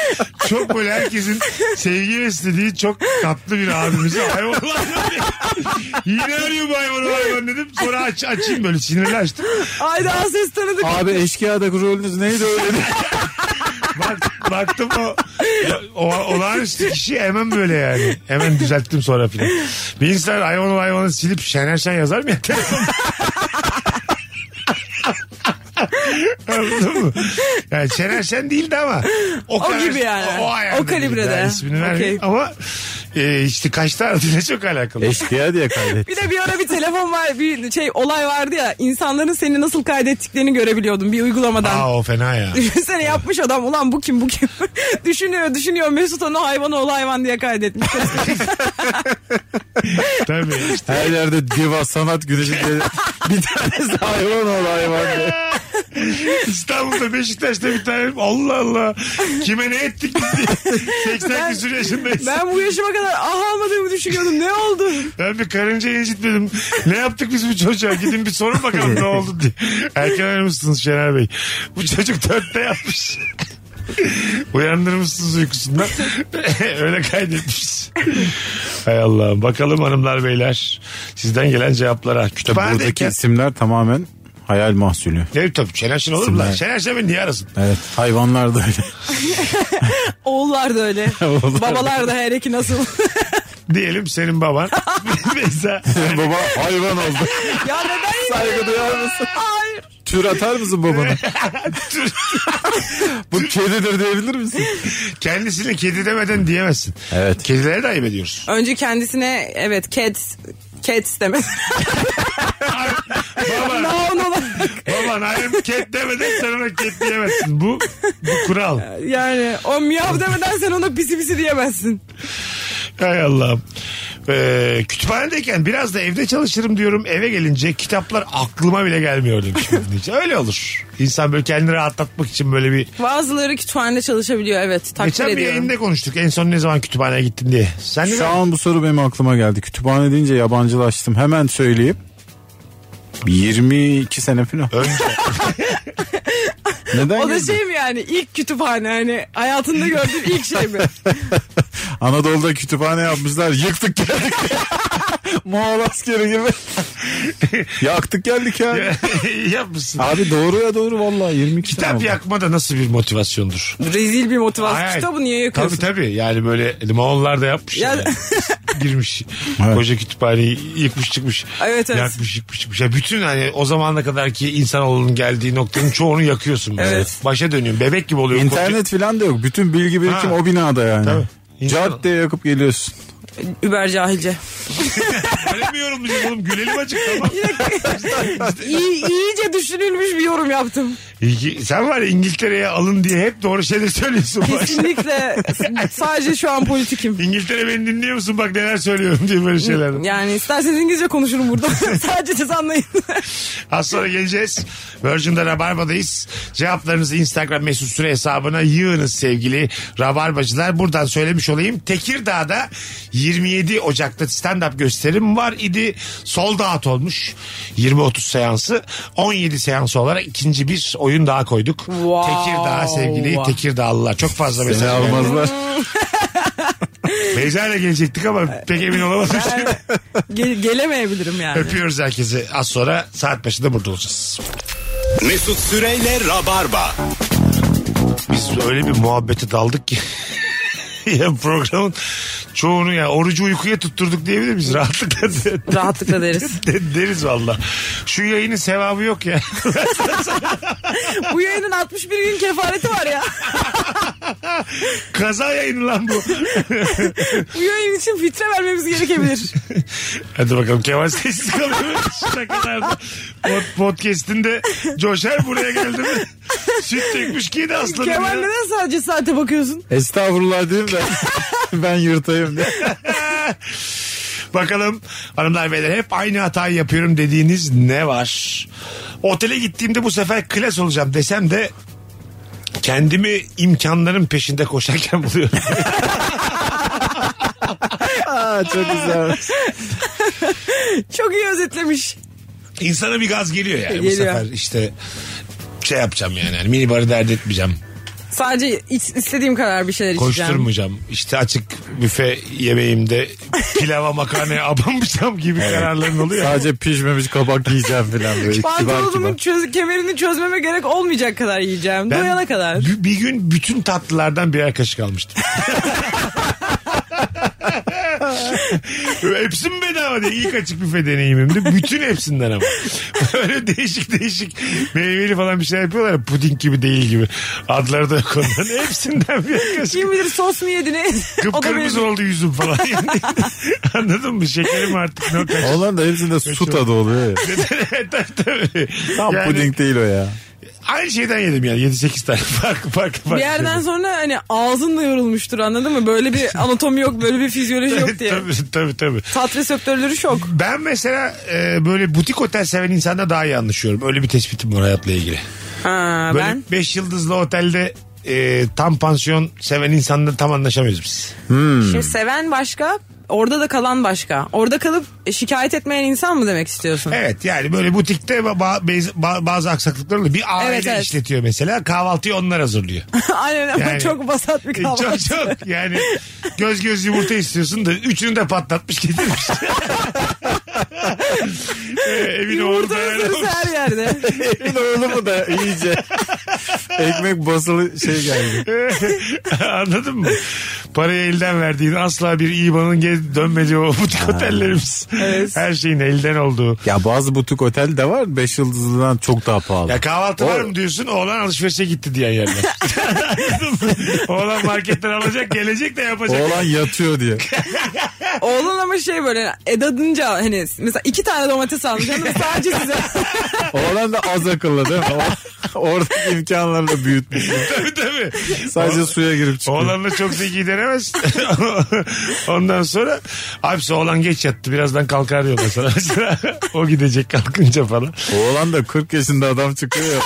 [SPEAKER 3] Çok böyle herkesin sevgi istediği çok tatlı bir abimizi hayvan ol hayvan diye. Yine arıyor bu hayvan ol hayvan dedim. Sonra aç, açayım böyle sinirli açtım.
[SPEAKER 4] Ay daha ses tanıdık.
[SPEAKER 5] Abi eşkıyadaki rolünüz neydi öyle?
[SPEAKER 3] Bak, baktım o, o olağanüstü kişi hemen böyle yani. Hemen düzelttim sonra filan. Bir insan hayvanı hayvanı silip Şener Şen yazar mı ya telefonda? (laughs) Anladın mı? Yani Şener Şen değildi ama. O,
[SPEAKER 4] gibi yani.
[SPEAKER 3] O, ayarda
[SPEAKER 4] O kalibrede.
[SPEAKER 3] değildi. Yani ismini vermeyeyim
[SPEAKER 4] Okey.
[SPEAKER 3] ama e, işte kaçta (laughs) aradığıyla çok alakalı.
[SPEAKER 5] Eşkıya diye kaydet.
[SPEAKER 4] Bir de bir ara bir telefon var bir şey olay vardı ya insanların seni nasıl kaydettiklerini görebiliyordum bir uygulamadan.
[SPEAKER 3] Aa o fena
[SPEAKER 4] (laughs)
[SPEAKER 3] ya.
[SPEAKER 4] Düşünsene yapmış adam ulan bu kim bu kim (laughs) düşünüyor düşünüyor Mesut onu hayvan oğlu hayvan diye kaydetmiş.
[SPEAKER 3] Tabii işte.
[SPEAKER 5] Her yerde diva sanat güneşi diye (laughs) bir tanesi hayvan ol hayvan diye.
[SPEAKER 3] İstanbul'da Beşiktaş'ta bir tane Allah Allah. Kime ne ettik biz
[SPEAKER 4] (laughs)
[SPEAKER 3] diye. 80 küsur yaşındayız. Ben...
[SPEAKER 4] ben bu yaşıma kadar ah almadığımı düşünüyordum ne oldu?
[SPEAKER 3] bir karınca incitmedim. Ne yaptık biz bu çocuğa? Gidin bir sorun bakalım ne oldu diye. Erken aramışsınız Şener Bey. Bu çocuk dörtte yapmış. Uyandırmışsınız uykusundan. (laughs) Öyle kaydetmiş. Hay Allah. Bakalım hanımlar beyler. Sizden gelen cevaplara. Kütüphanedeyken.
[SPEAKER 5] E, Buradaki isimler tamamen hayal mahsulü.
[SPEAKER 3] Ne tabii Şener Şen olur mu lan? Şener Şen beni niye arasın?
[SPEAKER 5] Evet hayvanlar da öyle.
[SPEAKER 4] Oğullar da öyle
[SPEAKER 5] Oğullar da.
[SPEAKER 4] babalar da her iki nasıl?
[SPEAKER 3] Diyelim senin baban. Beyza.
[SPEAKER 5] (laughs) Baba hayvan oldu.
[SPEAKER 4] ya neden yine?
[SPEAKER 5] Saygı duyar mısın?
[SPEAKER 4] Hayır.
[SPEAKER 5] Tür atar mısın babana? Bu kedidir diyebilir misin?
[SPEAKER 3] Kendisine kedi demeden diyemezsin.
[SPEAKER 5] Evet.
[SPEAKER 3] Kedilere de ayıp
[SPEAKER 4] (laughs)
[SPEAKER 3] ediyoruz.
[SPEAKER 4] Önce kendisine evet cats cats demesi. (laughs)
[SPEAKER 3] Baban,
[SPEAKER 4] Noun olarak
[SPEAKER 3] baban ayıp ket demeden sen ona ket diyemezsin. Bu, bu kural.
[SPEAKER 4] yani o miyav demeden sen ona pisi pisi diyemezsin.
[SPEAKER 3] Hay Allah'ım. Ee, kütüphanedeyken biraz da evde çalışırım diyorum. Eve gelince kitaplar aklıma bile gelmiyor demiş. bir
[SPEAKER 4] (laughs)
[SPEAKER 3] dinleyici. Öyle olur. İnsan böyle kendini rahatlatmak için böyle bir...
[SPEAKER 4] Bazıları kütüphanede çalışabiliyor evet takdir
[SPEAKER 3] Geçen bir
[SPEAKER 4] ediyorum.
[SPEAKER 3] yayında konuştuk. En son ne zaman kütüphaneye gittin diye. Sen ne
[SPEAKER 5] Hani Şu
[SPEAKER 3] zaman?
[SPEAKER 5] an bu soru benim aklıma geldi. Kütüphane deyince yabancılaştım. Hemen söyleyeyim. 22 sene falan.
[SPEAKER 3] Önce.
[SPEAKER 5] Neden
[SPEAKER 4] O da
[SPEAKER 5] güldün?
[SPEAKER 4] şey mi yani ilk kütüphane hani hayatında gördüğün ilk şey mi?
[SPEAKER 5] Anadolu'da kütüphane yapmışlar. Yıktık geldik. (laughs) Moğol askeri gibi. (laughs) Yaktık geldik ya.
[SPEAKER 3] (laughs) Yapmışsın.
[SPEAKER 5] Abi doğru ya doğru vallahi 22 sene
[SPEAKER 3] Kitap
[SPEAKER 5] oldu.
[SPEAKER 3] yakma da nasıl bir motivasyondur?
[SPEAKER 4] Rezil bir motivasyon
[SPEAKER 3] Ay,
[SPEAKER 4] kitabı niye yakıyorsun?
[SPEAKER 3] Tabii tabii yani böyle Moğollar da yapmış.
[SPEAKER 4] Ya- (laughs)
[SPEAKER 3] yani. Girmiş.
[SPEAKER 5] Evet.
[SPEAKER 3] Koca kütüphaneyi yıkmış çıkmış.
[SPEAKER 4] Evet, evet.
[SPEAKER 3] Yakmış yıkmış çıkmış. Ya bütün hani o zamana kadar ki insanoğlunun geldiği noktanın çoğunu yakıyorsun. böyle.
[SPEAKER 4] Evet.
[SPEAKER 3] Başa dönüyorsun. Bebek gibi oluyorsun.
[SPEAKER 5] İnternet falan da yok. Bütün bilgi birikim
[SPEAKER 3] Ha.
[SPEAKER 5] o binada yani.
[SPEAKER 3] Tabii. İnsan-
[SPEAKER 5] Cadde yakıp geliyorsun.
[SPEAKER 4] Über cahilce.
[SPEAKER 3] Koca- Öyle mi yorumlayacağız Hani oğlum? Gülelim açık
[SPEAKER 4] (laughs)
[SPEAKER 3] tamam.
[SPEAKER 4] İyi, iyice düşünülmüş bir yorum yaptım.
[SPEAKER 3] İyi- Sen var ya İngiltere'ye alın diye hep doğru şeyler söylüyorsun. bu akşam.
[SPEAKER 4] Kesinlikle s- sadece şu an politikim.
[SPEAKER 3] İngiltere beni dinliyor musun? Bak neler söylüyorum diye böyle şeyler.
[SPEAKER 4] Yani isterseniz İngilizce konuşurum burada. sadece siz anlayın.
[SPEAKER 3] Az sonra geleceğiz. Virgin'de Rabarba'dayız. Cevaplarınızı Instagram mesut süre hesabına yığınız sevgili Rabarbacılar. Buradan söylemiş olayım. Tekirdağ'da 27 Ocak'ta stand-up gösterim var idi. Sold out olmuş. 20-30 seansı. 17 seans olarak ikinci bir oyun daha koyduk.
[SPEAKER 4] Wow.
[SPEAKER 3] Tekirdağ sevgili Tekirdağlılar. Çok fazla
[SPEAKER 5] Seni
[SPEAKER 3] mesaj geldi.
[SPEAKER 5] almazlar.
[SPEAKER 3] Beyza'yla gelecektik ama pek emin olamadım.
[SPEAKER 4] Ge- gelemeyebilirim
[SPEAKER 3] (laughs)
[SPEAKER 4] yani.
[SPEAKER 3] Öpüyoruz herkesi. Az sonra saat başında burada olacağız.
[SPEAKER 2] Mesut Süreyle Rabarba.
[SPEAKER 3] Biz öyle bir muhabbete daldık ki (laughs) ya programın çoğunu ya orucu uykuya tutturduk diyebilir miyiz? Rahatlıkla de-
[SPEAKER 4] Rahatlıkla deriz.
[SPEAKER 3] de- deriz valla. Şu yayının sevabı yok ya. (laughs)
[SPEAKER 4] Bu yayının 61 gün kefareti var ya.
[SPEAKER 3] Kaza yayını lan bu. (laughs)
[SPEAKER 4] Bu yayın için fitre vermemiz gerekebilir.
[SPEAKER 3] Hadi bakalım Kemal sessiz kalıyor. (laughs) Şakalarda. Pod, podcast'in de coşar buraya geldi mi? (laughs) Süt dökmüş ki de aslanım
[SPEAKER 4] Kemal
[SPEAKER 3] ya.
[SPEAKER 4] neden sadece saate bakıyorsun?
[SPEAKER 5] Estağfurullah diyeyim de (laughs) ben yırtayım diye.
[SPEAKER 3] Bakalım hanımlar beyler hep aynı hatayı yapıyorum dediğiniz ne var? Otele gittiğimde bu sefer klas olacağım desem de kendimi imkanların peşinde koşarken (laughs) buluyorum.
[SPEAKER 5] Aa, çok güzel.
[SPEAKER 4] Çok iyi özetlemiş.
[SPEAKER 3] İnsana bir gaz geliyor yani bu
[SPEAKER 4] Geliyor.
[SPEAKER 3] sefer işte şey yapacağım yani, yani minibarı dert etmeyeceğim.
[SPEAKER 4] Sadece iç- istediğim kadar bir şeyler içeceğim.
[SPEAKER 3] Koşturmayacağım. İşte açık büfe yemeğimde pilava makarnaya (laughs) abanmayacağım gibi kararların oluyor.
[SPEAKER 5] Sadece pişmemiş kabak yiyeceğim falan böyle. kibar
[SPEAKER 4] Pantolonumun
[SPEAKER 5] kibar.
[SPEAKER 4] çöz, kemerini çözmeme gerek olmayacak kadar yiyeceğim.
[SPEAKER 3] Ben
[SPEAKER 4] Doyana kadar.
[SPEAKER 3] bi- Bir gün bütün tatlılardan birer kaşık almıştım. (laughs) Hepsi mi bedava diye ilk açık büfe deneyimimdi. Bütün hepsinden ama. (laughs) Öyle değişik değişik meyveli falan bir şeyler yapıyorlar. ya, Puding gibi değil gibi. Adları da yok onların. Hepsinden bir yaklaşık.
[SPEAKER 4] Kim bilir sos mu yediniz? (laughs) O da
[SPEAKER 3] Kıpkırmızı
[SPEAKER 4] benim.
[SPEAKER 3] oldu yüzüm falan. (laughs) Anladın mı? Şekerim artık (laughs) ne kaç.
[SPEAKER 5] Olan da hepsinde su tadı oluyor ya.
[SPEAKER 3] tabii tabii.
[SPEAKER 5] Tam
[SPEAKER 3] Yani
[SPEAKER 5] puding değil o ya.
[SPEAKER 3] Aynı şeyden yedim yani 7-8 tane (laughs) farklı farklı farklı.
[SPEAKER 4] Bir yerden
[SPEAKER 3] şeyden.
[SPEAKER 4] sonra hani ağzın da yorulmuştur anladın mı?
[SPEAKER 3] (laughs)
[SPEAKER 4] Böyle bir anatomi yok böyle bir fizyoloji yok diye.
[SPEAKER 3] tabii tabii tabii.
[SPEAKER 4] Tat reseptörleri şok.
[SPEAKER 3] Ben mesela e, böyle butik otel seven insanda daha iyi anlaşıyorum. Öyle bir tespitim var hayatla ilgili.
[SPEAKER 4] Ha,
[SPEAKER 3] Böyle
[SPEAKER 4] ben
[SPEAKER 3] 5 yıldızlı otelde e, tam pansiyon seven insanla tam anlaşamıyoruz biz.
[SPEAKER 4] şimdi seven başka orada da kalan başka. Orada kalıp e, şikayet etmeyen insan mı
[SPEAKER 3] (laughs)
[SPEAKER 4] demek istiyorsun? (laughs)
[SPEAKER 3] Evet yani böyle butikte ba- ba- bez- ba- bazı aksaklıklar oluyor. Bir aile
[SPEAKER 4] Evet, evet.
[SPEAKER 3] işletiyor mesela kahvaltıyı onlar
[SPEAKER 4] (laughs)
[SPEAKER 3] hazırlıyor.
[SPEAKER 4] Aynen ama
[SPEAKER 3] Yani-
[SPEAKER 4] çok basat bir
[SPEAKER 3] E,
[SPEAKER 4] kahvaltı.
[SPEAKER 3] Çok çok yani göz göz yumurta istiyorsun da üçünü de patlatmış
[SPEAKER 4] (laughs)
[SPEAKER 3] getirmiş. (laughs) e, evin
[SPEAKER 4] Yumurta
[SPEAKER 3] oğlu dayanamamış.
[SPEAKER 4] ısırısı her
[SPEAKER 3] (laughs)
[SPEAKER 4] yerde.
[SPEAKER 5] Evin oğlu mu da (laughs) iyice. Ekmek basılı şey geldi.
[SPEAKER 3] (laughs) Anladın mı? Parayı elden verdiğin asla bir İBAN'ın gez dönmediği o butik otellerimiz. Her şeyin elden olduğu.
[SPEAKER 5] Ya bazı butik otel de var 5 yıldızlıdan çok daha pahalı.
[SPEAKER 3] Ya kahvaltı
[SPEAKER 5] O-
[SPEAKER 3] var mı diyorsun oğlan alışverişe gitti diyen yerler. (laughs) Anladın mı? oğlan marketten alacak gelecek de yapacak.
[SPEAKER 5] Oğlan
[SPEAKER 3] (laughs)
[SPEAKER 5] yatıyor diye.
[SPEAKER 4] Oğlan ama şey böyle edadınca hani mesela iki tane domates almış hanım sadece size.
[SPEAKER 3] (laughs)
[SPEAKER 5] Oğlan da az akıllı değil mi? O- Oradaki imkanları da büyütmüş.
[SPEAKER 3] Tabii tabii.
[SPEAKER 5] Sadece suya girip çıkıyor.
[SPEAKER 3] Oğlanla çok zeki denemez. (laughs) Ondan sonra abisi oğlan geç yattı birazdan kalkar diyorlar sana. Mesela (laughs) o gidecek kalkınca falan.
[SPEAKER 5] Oğlan da 40 yaşında adam çıkıyor
[SPEAKER 3] (laughs)
[SPEAKER 5] ya.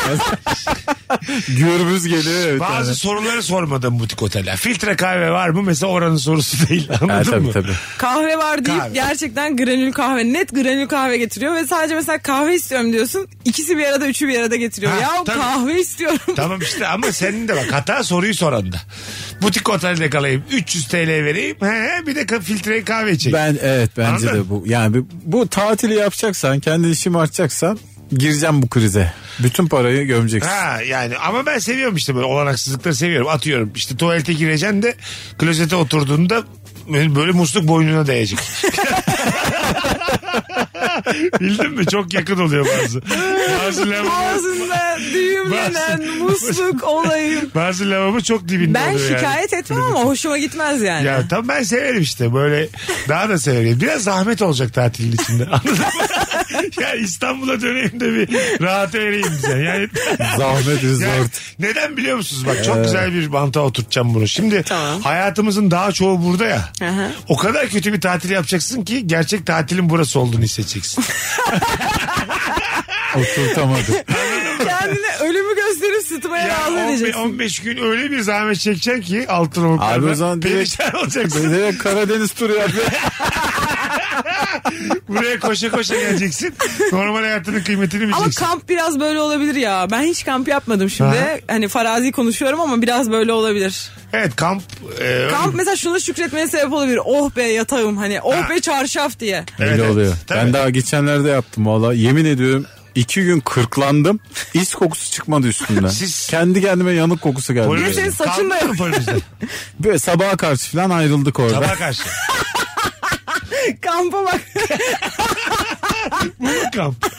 [SPEAKER 5] Gürbüz geliyor ya bir
[SPEAKER 3] Bazı
[SPEAKER 5] tane.
[SPEAKER 3] soruları sormadım butik otele. Filtre kahve var mı? Mesela oranın sorusu (laughs) değil. Anladın
[SPEAKER 5] Ha, tabii
[SPEAKER 3] mı?
[SPEAKER 5] tabii.
[SPEAKER 4] Kahve var deyip
[SPEAKER 3] Kahve.
[SPEAKER 4] gerçekten granül kahve net granül kahve getiriyor ve sadece mesela kahve istiyorum diyorsun. İkisi bir arada üçü bir arada getiriyor.
[SPEAKER 3] Ha,
[SPEAKER 4] ya
[SPEAKER 3] tabii.
[SPEAKER 4] kahve istiyorum.
[SPEAKER 3] Tamam işte ama senin de bak hata soruyu soran da. Butik otelde kalayım 300 TL vereyim he, he, bir de ka- filtre kahve içeyim.
[SPEAKER 5] Ben evet bence
[SPEAKER 3] Anladın?
[SPEAKER 5] de bu. Yani bu- bu tatili yapacaksan, kendi işimi artacaksan gireceğim bu krize. Bütün parayı gömeceksin.
[SPEAKER 3] Ha yani ama ben seviyorum işte böyle olanaksızlıkları seviyorum atıyorum işte tuvalete gireceksin de klozete oturduğunda böyle musluk boynuna değecek. (laughs) Bildin mi? Çok yakın oluyor bazı. Bazı lavabo,
[SPEAKER 4] Ağzında düğümlenen musluk olayım.
[SPEAKER 3] bazı lavabo çok dibinde
[SPEAKER 4] Ben
[SPEAKER 3] oluyor yani.
[SPEAKER 4] şikayet etmem ama hoşuma gitmez yani.
[SPEAKER 5] (laughs)
[SPEAKER 3] Ya tam ben severim işte böyle daha da severim. Biraz zahmet olacak tatilin içinde. (laughs) Anladın mı? ya İstanbul'a döneyim de bir rahat ereyim bize.
[SPEAKER 5] (laughs)
[SPEAKER 3] Yani, (laughs)
[SPEAKER 5] Zahmet
[SPEAKER 3] yani
[SPEAKER 5] resort.
[SPEAKER 3] neden biliyor musunuz? Bak
[SPEAKER 5] Ee.
[SPEAKER 3] çok güzel bir mantığa oturtacağım bunu. Şimdi
[SPEAKER 4] Tamam.
[SPEAKER 3] hayatımızın daha çoğu burada ya.
[SPEAKER 4] Aha.
[SPEAKER 3] O kadar kötü bir tatil yapacaksın ki gerçek tatilin burası olduğunu
[SPEAKER 5] (laughs)
[SPEAKER 3] hissedeceksin.
[SPEAKER 5] Oturtamadım.
[SPEAKER 4] Kendine ölümü gösterip sıtmaya
[SPEAKER 3] ya
[SPEAKER 4] razı
[SPEAKER 3] 15,
[SPEAKER 4] edeceksin.
[SPEAKER 3] 15 gün öyle bir zahmet çekeceksin ki altın oluklarına.
[SPEAKER 5] Abi o zaman direkt-
[SPEAKER 3] perişan olacaksın.
[SPEAKER 5] Direkt Karadeniz turu yapıyor.
[SPEAKER 3] Buraya koşa koşa geleceksin. Normal hayatının kıymetini bileceksin.
[SPEAKER 4] Ama kamp biraz böyle olabilir ya. Ben hiç kamp yapmadım şimdi.
[SPEAKER 3] Aha.
[SPEAKER 4] Hani farazi konuşuyorum ama biraz böyle olabilir.
[SPEAKER 3] Evet kamp. e,
[SPEAKER 4] Kamp mesela şuna şükretmeye sebep olabilir. Oh be yatağım hani. Oh be çarşaf diye.
[SPEAKER 3] Evet,
[SPEAKER 5] Öyle
[SPEAKER 3] evet.
[SPEAKER 5] oluyor.
[SPEAKER 3] Tabii.
[SPEAKER 5] Ben daha geçenlerde yaptım valla. Yemin ediyorum iki gün kırklandım. İç kokusu çıkmadı üstümden.
[SPEAKER 3] Siz-
[SPEAKER 5] Kendi kendime yanık kokusu
[SPEAKER 3] Polonezya.
[SPEAKER 5] geldi.
[SPEAKER 4] senin saçın da
[SPEAKER 3] Kaldı
[SPEAKER 4] yok.
[SPEAKER 3] mı Polonezya?
[SPEAKER 5] Böyle sabaha karşı falan ayrıldık orada.
[SPEAKER 3] Sabaha
[SPEAKER 4] (laughs)
[SPEAKER 3] karşı.
[SPEAKER 4] Kampa bak.
[SPEAKER 3] Kamp. (laughs)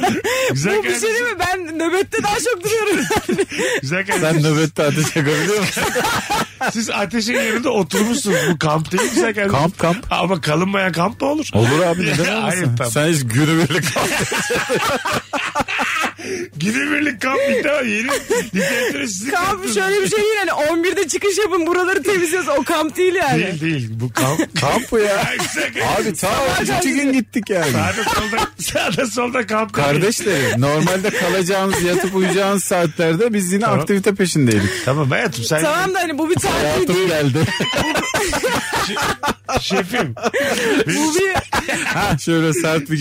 [SPEAKER 3] Güzel
[SPEAKER 4] Bu bir şey
[SPEAKER 3] kardeşim.
[SPEAKER 4] değil mi? Ben nöbette daha çok duruyorum.
[SPEAKER 5] (laughs)
[SPEAKER 3] Güzel kardeşim.
[SPEAKER 5] (laughs) Sen nöbette ateş yakabiliyor musun?
[SPEAKER 3] Siz ateşin yerinde oturmuşsunuz. Bu kamp değil mi güzel kardeşim?
[SPEAKER 5] Kamp, kamp.
[SPEAKER 3] Ama kalınmayan kamp mı olur?
[SPEAKER 5] Olur abi neden (laughs)
[SPEAKER 3] Ya, (laughs)
[SPEAKER 5] olmasın?
[SPEAKER 3] hayır, tabii.
[SPEAKER 5] Sen hiç günübirlik
[SPEAKER 3] Günübirlik kamp bitti ama yeni literatürü sizin
[SPEAKER 4] kamp
[SPEAKER 3] yaptınız.
[SPEAKER 4] şöyle bir şey değil. Hani 11'de çıkış yapın buraları temizliyoruz. O kamp değil yani.
[SPEAKER 3] Değil değil. Bu
[SPEAKER 4] (laughs)
[SPEAKER 3] kamp.
[SPEAKER 5] kamp bu ya.
[SPEAKER 3] Ay, güzel kardeşim.
[SPEAKER 5] Abi ta
[SPEAKER 4] karşı-
[SPEAKER 5] iki gün gittik yani.
[SPEAKER 3] Sağda
[SPEAKER 4] (laughs)
[SPEAKER 3] solda, sağda solda kamp. değil.
[SPEAKER 5] Kardeşlerim normalde kalacağımız yatıp uyuyacağımız saatlerde biz yine aktivite peşindeydik.
[SPEAKER 3] Tamam hayatım sen
[SPEAKER 4] Tamam da hani bu bir tatil
[SPEAKER 5] Hayatım
[SPEAKER 4] değil.
[SPEAKER 5] geldi.
[SPEAKER 3] şefim.
[SPEAKER 4] Bu bir
[SPEAKER 5] (laughs) ha şöyle sert bir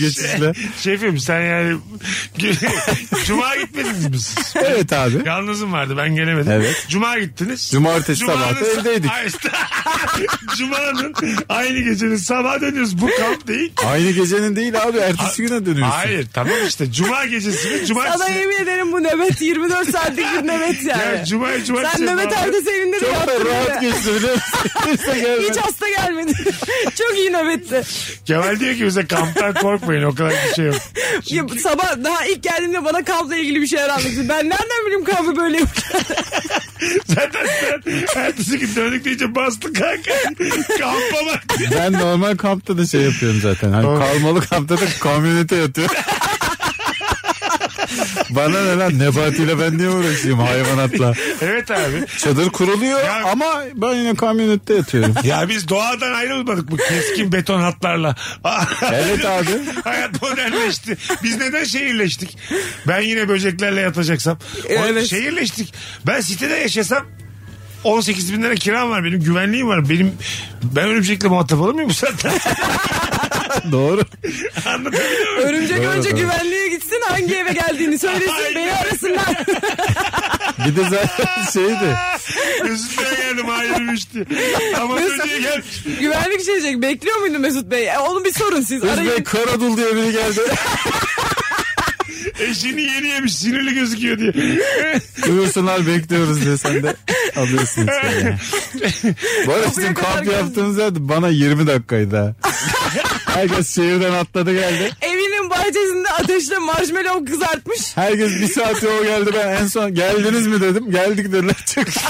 [SPEAKER 3] Şey.
[SPEAKER 5] geçişle.
[SPEAKER 3] Şefim sen
[SPEAKER 4] (laughs)
[SPEAKER 3] yani Cuma gitmediniz mi siz?
[SPEAKER 5] Evet abi.
[SPEAKER 3] Yalnızım vardı ben gelemedim.
[SPEAKER 5] Evet.
[SPEAKER 3] Cuma gittiniz.
[SPEAKER 5] Cumartesi sabahı da evdeydik.
[SPEAKER 3] Ay, işte. (laughs) Cuma'nın aynı gecenin sabah dönüyoruz. Bu kamp değil.
[SPEAKER 5] Aynı gecenin değil abi ertesi güne dönüyorsun.
[SPEAKER 3] Hayır tamam işte Cuma gecesi mi?
[SPEAKER 4] sana
[SPEAKER 3] Cumartesi.
[SPEAKER 4] yemin ederim bu nöbet 24 saatlik bir nöbet yani.
[SPEAKER 3] Ya Cuma'ya Cumartesi.
[SPEAKER 4] Sen nöbet
[SPEAKER 3] falan.
[SPEAKER 4] ertesi evinde de
[SPEAKER 5] Çok da
[SPEAKER 4] yattın
[SPEAKER 5] rahat
[SPEAKER 4] bile.
[SPEAKER 5] geçti biliyor musun? (laughs) Kimse gelmedi.
[SPEAKER 4] Hiç hasta gelmedi. (laughs) Çok iyi nöbetti.
[SPEAKER 3] Kemal diyor ki bize kamptan korkmayın o kadar bir şey yok. (laughs)
[SPEAKER 4] Ya, sabah daha ilk geldiğimde bana kampla ilgili bir şeyler anlattı. Ben nereden bileyim kampı böyle
[SPEAKER 5] (laughs)
[SPEAKER 4] yapacağım?
[SPEAKER 3] Zaten sen ertesi gün döndük deyince bastın kanka. (laughs) Kampa bak.
[SPEAKER 5] Ben normal kampta da şey yapıyorum zaten. Hani
[SPEAKER 3] Doğru.
[SPEAKER 5] kalmalı kampta da kamyonete yatıyorum. Bana ne lan nebatiyle ben niye uğraşayım hayvanatla.
[SPEAKER 3] Evet abi.
[SPEAKER 5] Çadır kuruluyor
[SPEAKER 3] Ya-
[SPEAKER 5] ama ben yine kamyonette yatıyorum.
[SPEAKER 3] Ya biz doğadan ayrılmadık mı keskin beton
[SPEAKER 4] (laughs)
[SPEAKER 3] hatlarla?
[SPEAKER 5] Evet abi.
[SPEAKER 3] Hayat modernleşti. Biz neden şehirleştik? Ben yine böceklerle yatacaksam. Evet.
[SPEAKER 4] Evet.
[SPEAKER 3] Şehirleştik. Ben sitede yaşasam 18 bin lira kiram var benim güvenliğim var benim ben örümcekle muhatap olamıyor bu saatten
[SPEAKER 5] Doğru.
[SPEAKER 3] (laughs) anlatabiliyor muyum?
[SPEAKER 4] Örümcek önce güvenliğe gitsin hangi eve geldiğini
[SPEAKER 5] (laughs)
[SPEAKER 4] söylesin beni arasınlar.
[SPEAKER 5] Bir de zaten şeydi.
[SPEAKER 3] Üstüne geldim ayrılmış diye. Ama
[SPEAKER 4] Mesut-
[SPEAKER 3] önce gelmiş.
[SPEAKER 4] Güvenlik şey diyecek. Bekliyor muydu Mesut Bey? E, onu bir sorun siz.
[SPEAKER 5] Özbek
[SPEAKER 4] Arayın.
[SPEAKER 5] Karadul diye biri geldi.
[SPEAKER 3] Eşini yeni yemiş sinirli gözüküyor diye.
[SPEAKER 5] Buyursunlar bekliyoruz diye sen de alıyorsun içeri. yani. Bu arada
[SPEAKER 4] Kapıya
[SPEAKER 5] bizim
[SPEAKER 4] kadar
[SPEAKER 5] kamp
[SPEAKER 4] geldi.
[SPEAKER 5] yaptığımız yer bana 20 dakikaydı ha. Herkes şehirden atladı geldi.
[SPEAKER 4] Evinin bahçesinde ateşle marshmallow kızartmış.
[SPEAKER 5] Herkes bir saate o geldi ben en son geldiniz mi dedim. Geldik dediler çıktı.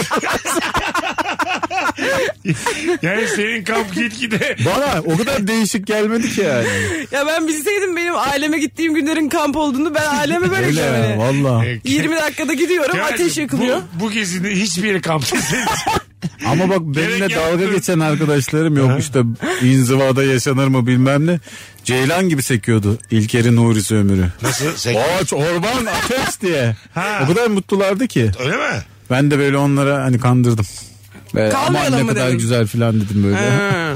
[SPEAKER 3] Yani senin kamp gitgide
[SPEAKER 5] (laughs) Bana o kadar değişik gelmedi ki yani.
[SPEAKER 4] Ya ben bilseydim benim aileme gittiğim günlerin kamp olduğunu ben aileme böyle
[SPEAKER 5] Öyle ya
[SPEAKER 4] şöyle.
[SPEAKER 5] valla.
[SPEAKER 4] 20 dakikada gidiyorum
[SPEAKER 3] Kemal'cim,
[SPEAKER 4] ateş yakılıyor.
[SPEAKER 3] Bu, bu gezinde hiçbir yeri kamp (laughs) değil.
[SPEAKER 5] Ama bak benimle
[SPEAKER 3] Gerek yok.
[SPEAKER 5] dalga geçen arkadaşlarım yok işte inzivada yaşanır mı bilmem ne. Ceylan gibi sekiyordu İlker'in Nuri'si ömürü.
[SPEAKER 3] Nasıl? Sen-
[SPEAKER 5] Ağaç, orman, ateş diye.
[SPEAKER 3] Ha.
[SPEAKER 5] O kadar mutlulardı ki.
[SPEAKER 3] Öyle mi?
[SPEAKER 5] Ben de böyle onlara hani kandırdım. Ve
[SPEAKER 4] Kalmayalım
[SPEAKER 5] aman ne
[SPEAKER 4] mı
[SPEAKER 5] kadar
[SPEAKER 4] dedin?
[SPEAKER 5] güzel filan dedim böyle.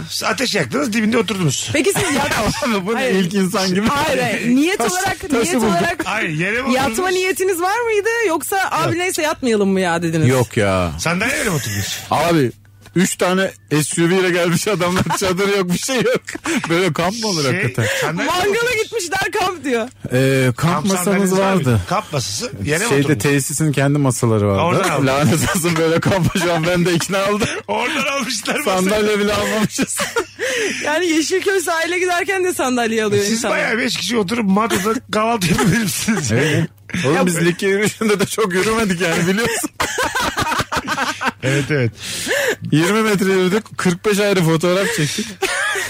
[SPEAKER 3] Siz Ateş yaktınız dibinde oturdunuz.
[SPEAKER 4] Peki siz
[SPEAKER 5] (laughs)
[SPEAKER 4] yat...
[SPEAKER 5] Bu ne
[SPEAKER 4] Hayır.
[SPEAKER 5] ilk insan gibi.
[SPEAKER 4] Hayır, hayır. niyet
[SPEAKER 5] Taşı-
[SPEAKER 4] olarak
[SPEAKER 5] taşı
[SPEAKER 4] niyet
[SPEAKER 5] buldum.
[SPEAKER 4] olarak
[SPEAKER 3] Hayır yere mi oturdunuz?
[SPEAKER 4] yatma niyetiniz var mıydı yoksa abi neyse yatmayalım mı ya dediniz?
[SPEAKER 5] Yok ya.
[SPEAKER 3] Sandalyeye mi oturdunuz?
[SPEAKER 5] Abi Üç tane SUV ile gelmiş adamlar (laughs) çadır yok bir şey yok. Böyle kamp mı (laughs) olur
[SPEAKER 3] Şey,
[SPEAKER 5] hakikaten?
[SPEAKER 3] sandalyeye mi
[SPEAKER 4] Mangala
[SPEAKER 3] oturdunuz?
[SPEAKER 4] gitmişler kamp diyor.
[SPEAKER 5] Ee, kamp
[SPEAKER 3] Kamp sandalyeniz
[SPEAKER 5] masamız
[SPEAKER 3] var mıydı?
[SPEAKER 5] vardı.
[SPEAKER 3] Kamp masası yere mi
[SPEAKER 5] Şeyde
[SPEAKER 3] oturdunuz?
[SPEAKER 5] tesisin kendi masaları vardı. (laughs)
[SPEAKER 3] Oradan aldım.
[SPEAKER 5] Lanet olsun böyle kampa şu an ben de ikna
[SPEAKER 3] (laughs)
[SPEAKER 5] aldım.
[SPEAKER 3] Oradan almışlar masayı.
[SPEAKER 5] Sandalye bile
[SPEAKER 3] (laughs)
[SPEAKER 5] almamışız.
[SPEAKER 4] Yani Yeşilköy sahile giderken de sandalye alıyor
[SPEAKER 3] Siz
[SPEAKER 4] insanlar.
[SPEAKER 3] bayağı beş kişi oturup madoda kahvaltı yapabilirsiniz.
[SPEAKER 5] Öyle. Oğlum biz lig yürüyüşünde de çok yürümedik
[SPEAKER 3] (laughs)
[SPEAKER 5] yani biliyorsun.
[SPEAKER 3] (laughs) evet evet.
[SPEAKER 5] 20 metre yürüdük 45 ayrı fotoğraf çektik.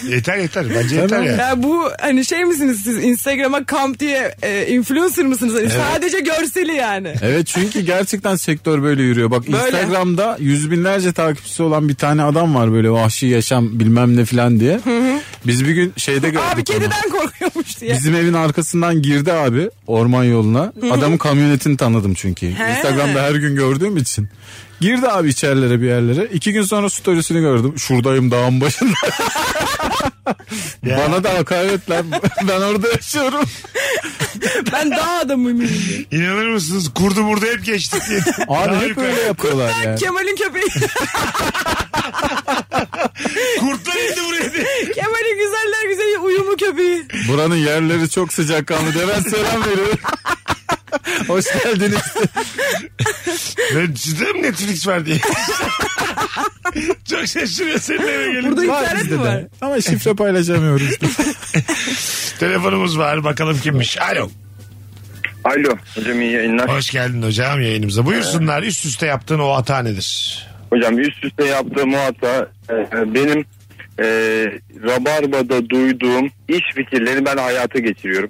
[SPEAKER 3] Yeter yeter. Bence yeter ya.
[SPEAKER 4] Ya bu hani şey misiniz siz Instagram'a kamp diye e, influencer mısınız? Hani Sadece görseli yani.
[SPEAKER 5] Evet çünkü gerçekten sektör böyle yürüyor. Bak
[SPEAKER 4] Böyle.
[SPEAKER 5] Instagram'da yüz binlerce takipçisi olan bir tane adam var böyle vahşi yaşam bilmem ne filan diye. Biz bir gün şeyde gördük
[SPEAKER 4] Abi
[SPEAKER 5] onu.
[SPEAKER 4] kediden korkuyormuş diye.
[SPEAKER 5] Bizim evin arkasından girdi abi orman yoluna. Adamın kamyonetini tanıdım çünkü. Instagram'da her gün gördüğüm için. Girdi abi içerilere bir yerlere. İki gün sonra storiesini gördüm. Şuradayım dağın (laughs) başında. Bana da hakaret lan. (laughs) Ben orada yaşıyorum.
[SPEAKER 4] Ben dağ adamıyım.
[SPEAKER 3] İnanır mısınız? Kurdu burada hep geçtik diye.
[SPEAKER 5] Abi
[SPEAKER 3] Daha
[SPEAKER 5] hep
[SPEAKER 3] yukarı.
[SPEAKER 5] böyle yapıyorlar (laughs) yani.
[SPEAKER 4] Kemal'in köpeği. (laughs)
[SPEAKER 3] Kurtlar indi buraya diye.
[SPEAKER 4] Kemal'in güzeller güzeli uyumu köpeği.
[SPEAKER 5] Buranın yerleri çok sıcak kanlı diye ben selam (laughs) veriyorum. Hoş geldiniz.
[SPEAKER 3] Ben sizde mi Netflix var diye. (laughs) Çok şaşırıyor senin eve gelin.
[SPEAKER 4] Burada
[SPEAKER 5] Var
[SPEAKER 4] internet
[SPEAKER 5] bizde
[SPEAKER 4] mi
[SPEAKER 5] de.
[SPEAKER 4] var?
[SPEAKER 5] Ama şifre paylaşamıyoruz.
[SPEAKER 3] Telefonumuz var. Bakalım kimmiş. Alo.
[SPEAKER 7] Alo hocam iyi yayınlar.
[SPEAKER 3] Hoş geldin hocam yayınımıza. Buyursunlar üst üste yaptığın o hata nedir?
[SPEAKER 7] Hocam üst üste yaptığım o hata e, benim e, Rabarba'da duyduğum iş fikirleri ben hayata geçiriyorum.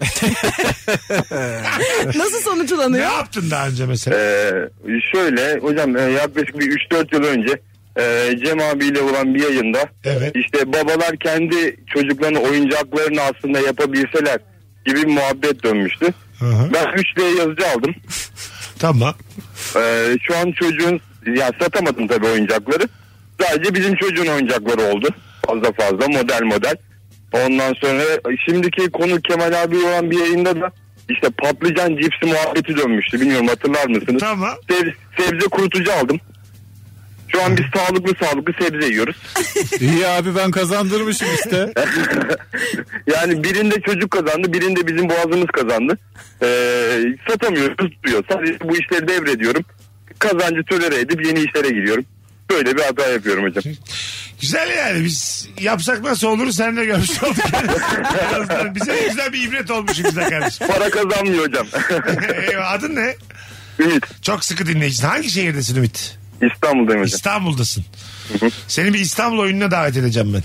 [SPEAKER 4] Nasıl
[SPEAKER 3] Ne
[SPEAKER 4] (laughs) sonuçlanıyor?
[SPEAKER 3] yaptın daha önce mesela?
[SPEAKER 7] E, şöyle hocam e, yaklaşık bir 3-4 yıl önce e, Cem abiyle olan bir yayında
[SPEAKER 3] Evet.
[SPEAKER 7] işte babalar kendi çocuklarını oyuncaklarını aslında yapabilseler gibi bir muhabbet dönmüştü.
[SPEAKER 3] Hı hı.
[SPEAKER 7] Ben 3D yazıcı aldım.
[SPEAKER 3] Tamam.
[SPEAKER 7] E, şu an çocuğun ya satamadım tabii oyuncakları. Sadece bizim çocuğun oyuncakları oldu. Fazla fazla model model. Ondan sonra şimdiki konu Kemal abi olan bir yayında da işte patlıcan cipsi muhabbeti dönmüştü. Bilmiyorum hatırlar mısınız?
[SPEAKER 3] Tamam.
[SPEAKER 7] Seb- sebze kurutucu aldım. Şu an biz sağlıklı sağlıklı sebze yiyoruz.
[SPEAKER 5] İyi abi ben kazandırmışım işte.
[SPEAKER 7] Yani birinde çocuk kazandı, birinde bizim boğazımız kazandı. Ee, satamıyoruz, duruyor. Sadece bu işleri devrediyorum. Kazancı tölere edip yeni işlere giriyorum. Böyle bir hata yapıyorum hocam.
[SPEAKER 3] Güzel yani biz yapsak nasıl olur sen de görmüş
[SPEAKER 7] (laughs)
[SPEAKER 3] olduk. En azından bize güzel bir ibret olmuş bize
[SPEAKER 7] (laughs)
[SPEAKER 3] kardeşim.
[SPEAKER 7] Para kazanmıyor hocam. (laughs)
[SPEAKER 3] Eyvah, Adın ne?
[SPEAKER 7] Ümit
[SPEAKER 3] Çok sıkı dinleyicisin. Hangi şehirdesin Ümit?
[SPEAKER 7] İstanbul'dayım hocam.
[SPEAKER 3] İstanbul'dasın. Seni bir İstanbul oyununa davet edeceğim ben.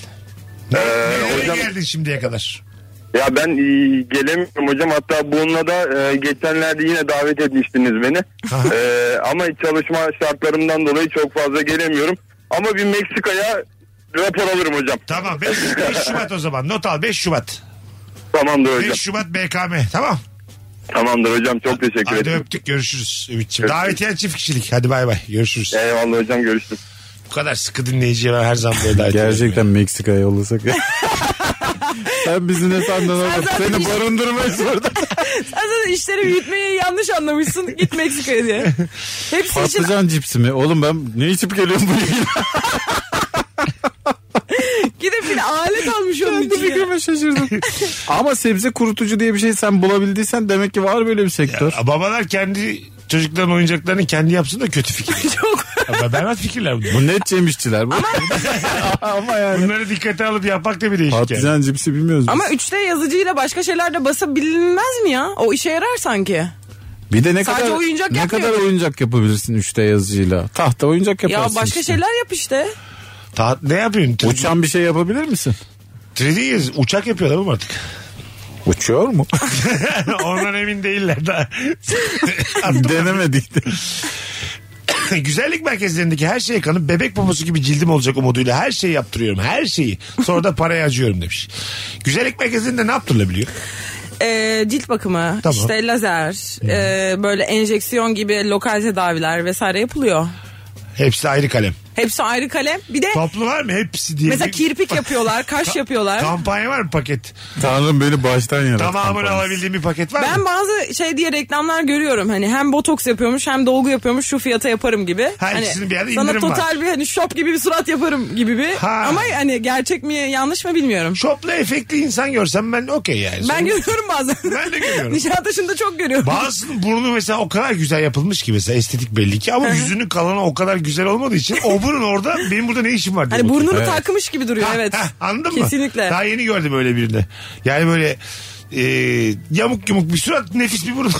[SPEAKER 3] Ne, nereye
[SPEAKER 7] Ee, hocam-
[SPEAKER 3] geldin şimdiye kadar?
[SPEAKER 7] Ya ben e, gelemiyorum hocam. Hatta bununla da e, geçenlerde yine davet etmiştiniz beni.
[SPEAKER 3] Aha.
[SPEAKER 7] E, ama çalışma şartlarımdan dolayı çok fazla gelemiyorum. Ama bir Meksika'ya rapor alırım hocam.
[SPEAKER 3] Tamam 5, Şubat o zaman. Not al 5 Şubat.
[SPEAKER 7] Tamamdır
[SPEAKER 3] 5
[SPEAKER 7] hocam.
[SPEAKER 3] Şubat BKM tamam.
[SPEAKER 7] Tamamdır hocam. Çok teşekkür
[SPEAKER 3] Hadi
[SPEAKER 7] ederim.
[SPEAKER 3] öptük görüşürüz Ümit'ciğim.
[SPEAKER 7] Görüşürüz.
[SPEAKER 3] Davetiyen çift kişilik. Hadi bay bay görüşürüz.
[SPEAKER 7] Eyvallah hocam görüşürüz.
[SPEAKER 3] Bu kadar sıkı dinleyiciye ben her zaman böyle davet ediyorum.
[SPEAKER 5] Gerçekten Meksika'ya yollasak. Sen bizi ne sandın oğlum?
[SPEAKER 4] zaten
[SPEAKER 5] Seni
[SPEAKER 4] hiç-
[SPEAKER 5] barındırmayız orada.
[SPEAKER 4] Aslında işleri büyütmeyi yanlış anlamışsın. Git Meksika'ya diye. Hepsi için
[SPEAKER 5] Patlıcan cipsi mi? Oğlum ben ne içip geliyorum
[SPEAKER 4] (laughs)
[SPEAKER 5] bu yayına?
[SPEAKER 4] gidip bir alet almış onun
[SPEAKER 5] Ben bu
[SPEAKER 4] için. ya.
[SPEAKER 5] fikrime şaşırdım. Ama sebze kurutucu diye bir şey sen bulabildiysen demek ki var böyle bir sektör.
[SPEAKER 3] Ya, babalar kendi çocukların oyuncaklarını kendi yapsın da kötü fikir.
[SPEAKER 4] (laughs) Çok.
[SPEAKER 3] Ama berbat fikirler bunlar.
[SPEAKER 5] Bu net cemişçiler bu. (laughs) Ama yani.
[SPEAKER 3] Bunları dikkate alıp yapmak da bir değişik yani.
[SPEAKER 5] Patlıcan cipsi bilmiyoruz biz.
[SPEAKER 4] Ama 3D yazıcıyla başka şeyler de basabilinmez mi ya? O işe yarar sanki.
[SPEAKER 5] bir de ne
[SPEAKER 4] sadece
[SPEAKER 5] kadar
[SPEAKER 4] oyuncak
[SPEAKER 5] ne
[SPEAKER 4] yapmıyor.
[SPEAKER 5] kadar oyuncak yapabilirsin 3D yazıcıyla? Tahta oyuncak
[SPEAKER 4] Ya
[SPEAKER 5] yaparsın.
[SPEAKER 4] başka
[SPEAKER 5] işte.
[SPEAKER 4] şeyler yap işte.
[SPEAKER 3] Ta- ne yapıyorsun? 3
[SPEAKER 5] Uçan bir şey yapabilir misin?
[SPEAKER 3] 3D yaz- uçak yapıyorlar mı artık? (laughs)
[SPEAKER 5] Uçuyor mu? (laughs)
[SPEAKER 3] Ondan emin değiller daha. Attım.
[SPEAKER 5] Denemedik de.
[SPEAKER 3] Güzellik merkezlerindeki her şeye kanıp bebek poposu gibi cildim olacak umuduyla her şeyi yaptırıyorum. Her şeyi. Sonra da paraya acıyorum demiş. Güzellik merkezinde ne yaptırılabiliyor?
[SPEAKER 4] Ee, cilt bakımı,
[SPEAKER 3] Tamam.
[SPEAKER 4] işte lazer, ee, böyle enjeksiyon gibi lokal tedaviler vesaire yapılıyor.
[SPEAKER 3] Hepsi ayrı kalem.
[SPEAKER 4] Hepsi ayrı kalem. Bir de
[SPEAKER 3] Toplu var mı? Hepsi diye.
[SPEAKER 4] mesela
[SPEAKER 3] bir-
[SPEAKER 4] kirpik yapıyorlar, kaş yapıyorlar.
[SPEAKER 3] Kampanya var mı paket?
[SPEAKER 5] Tanrım beni baştan yarattı.
[SPEAKER 3] Tamamını alabildiğim bir paket var
[SPEAKER 4] Ben
[SPEAKER 3] mı?
[SPEAKER 4] bazı şey diye reklamlar görüyorum hani hem botoks yapıyormuş hem dolgu yapıyormuş şu fiyata yaparım gibi.
[SPEAKER 3] Ha,
[SPEAKER 4] hani
[SPEAKER 3] ikisinin bir yerde
[SPEAKER 4] sana
[SPEAKER 3] indirim var.
[SPEAKER 4] total bir hani şop gibi bir surat yaparım gibi bir.
[SPEAKER 3] Ha.
[SPEAKER 4] Ama hani gerçek mi yanlış mı bilmiyorum.
[SPEAKER 3] Şopla efektli insan görsem ben okey yani. Sonra-
[SPEAKER 4] Ben görüyorum bazen.
[SPEAKER 3] Ben de görüyorum.
[SPEAKER 4] (laughs) Nişantaşı'nda çok görüyorum.
[SPEAKER 3] Bazısının burnu mesela o kadar güzel yapılmış ki mesela estetik belli ki ama yüzünün kalanı o kadar güzel olmadığı için o burun orada benim burada ne işim var diye.
[SPEAKER 4] hani
[SPEAKER 3] bakıyor.
[SPEAKER 4] burnunu
[SPEAKER 5] Evet.
[SPEAKER 4] takmış gibi duruyor
[SPEAKER 3] (laughs)
[SPEAKER 4] evet.
[SPEAKER 3] Hah, anladın mı?
[SPEAKER 4] Kesinlikle.
[SPEAKER 3] Daha yeni gördüm öyle birini. Yani böyle e, yamuk yumuk bir surat nefis bir burun.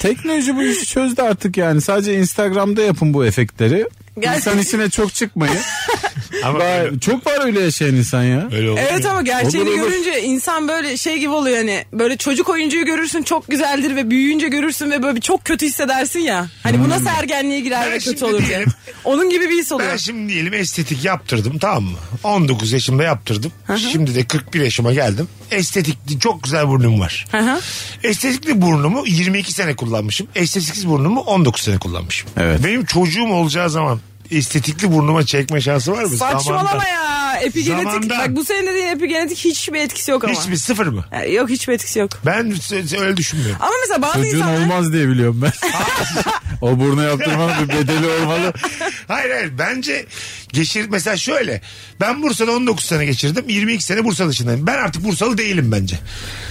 [SPEAKER 5] Teknoloji bu işi çözdü artık yani. Sadece Instagram'da yapın bu efektleri.
[SPEAKER 4] Gerçekten.
[SPEAKER 5] İnsan işine çok çıkmayın.
[SPEAKER 3] (laughs) (laughs) ama
[SPEAKER 5] Daha-
[SPEAKER 3] öyle,
[SPEAKER 5] çok var öyle yaşayan insan ya.
[SPEAKER 3] öyle olur.
[SPEAKER 4] Evet ama gerçeğini
[SPEAKER 5] Olur, olur.
[SPEAKER 4] görünce insan böyle şey gibi oluyor hani böyle çocuk oyuncuyu görürsün çok güzeldir ve büyüyünce görürsün ve böyle bir çok kötü hissedersin ya. Hani bu nasıl ergenliğe girer
[SPEAKER 3] Hmm. Ben
[SPEAKER 4] ve
[SPEAKER 3] şimdi
[SPEAKER 4] kötü olur diye.
[SPEAKER 3] diyelim-
[SPEAKER 4] Onun gibi bir his
[SPEAKER 3] Ben
[SPEAKER 4] oluyor.
[SPEAKER 3] şimdi diyelim estetik yaptırdım tamam mı? 19 yaşımda yaptırdım. Şimdi de 41 yaşıma geldim. Estetikli çok güzel burnum var.
[SPEAKER 4] Hı hı.
[SPEAKER 3] Estetikli burnumu 22 sene kullanmışım. Estetiksiz burnumu 19 sene kullanmışım.
[SPEAKER 5] Evet.
[SPEAKER 3] Benim çocuğum olacağı zaman estetikli burnuma çekme şansı var mı?
[SPEAKER 4] Saçmalama
[SPEAKER 3] Zamanda.
[SPEAKER 4] ya. Epigenetik.
[SPEAKER 3] Zamanda.
[SPEAKER 4] Bak bu senin dediğin epigenetik hiçbir etkisi yok ama.
[SPEAKER 3] Hiçbir sıfır mı?
[SPEAKER 4] Ya, Yok hiçbir etkisi yok.
[SPEAKER 3] Ben s- öyle düşünmüyorum.
[SPEAKER 4] Ama mesela bazı
[SPEAKER 5] Çocuğun
[SPEAKER 4] insanlar
[SPEAKER 5] olmaz diye biliyorum
[SPEAKER 4] (laughs)
[SPEAKER 5] ben. o burnu yaptırmanın bir bedeli olmalı.
[SPEAKER 3] Hayır hayır bence geçir mesela şöyle ben Bursa'da 19 sene geçirdim 22 sene Bursa dışındayım ben artık Bursalı değilim bence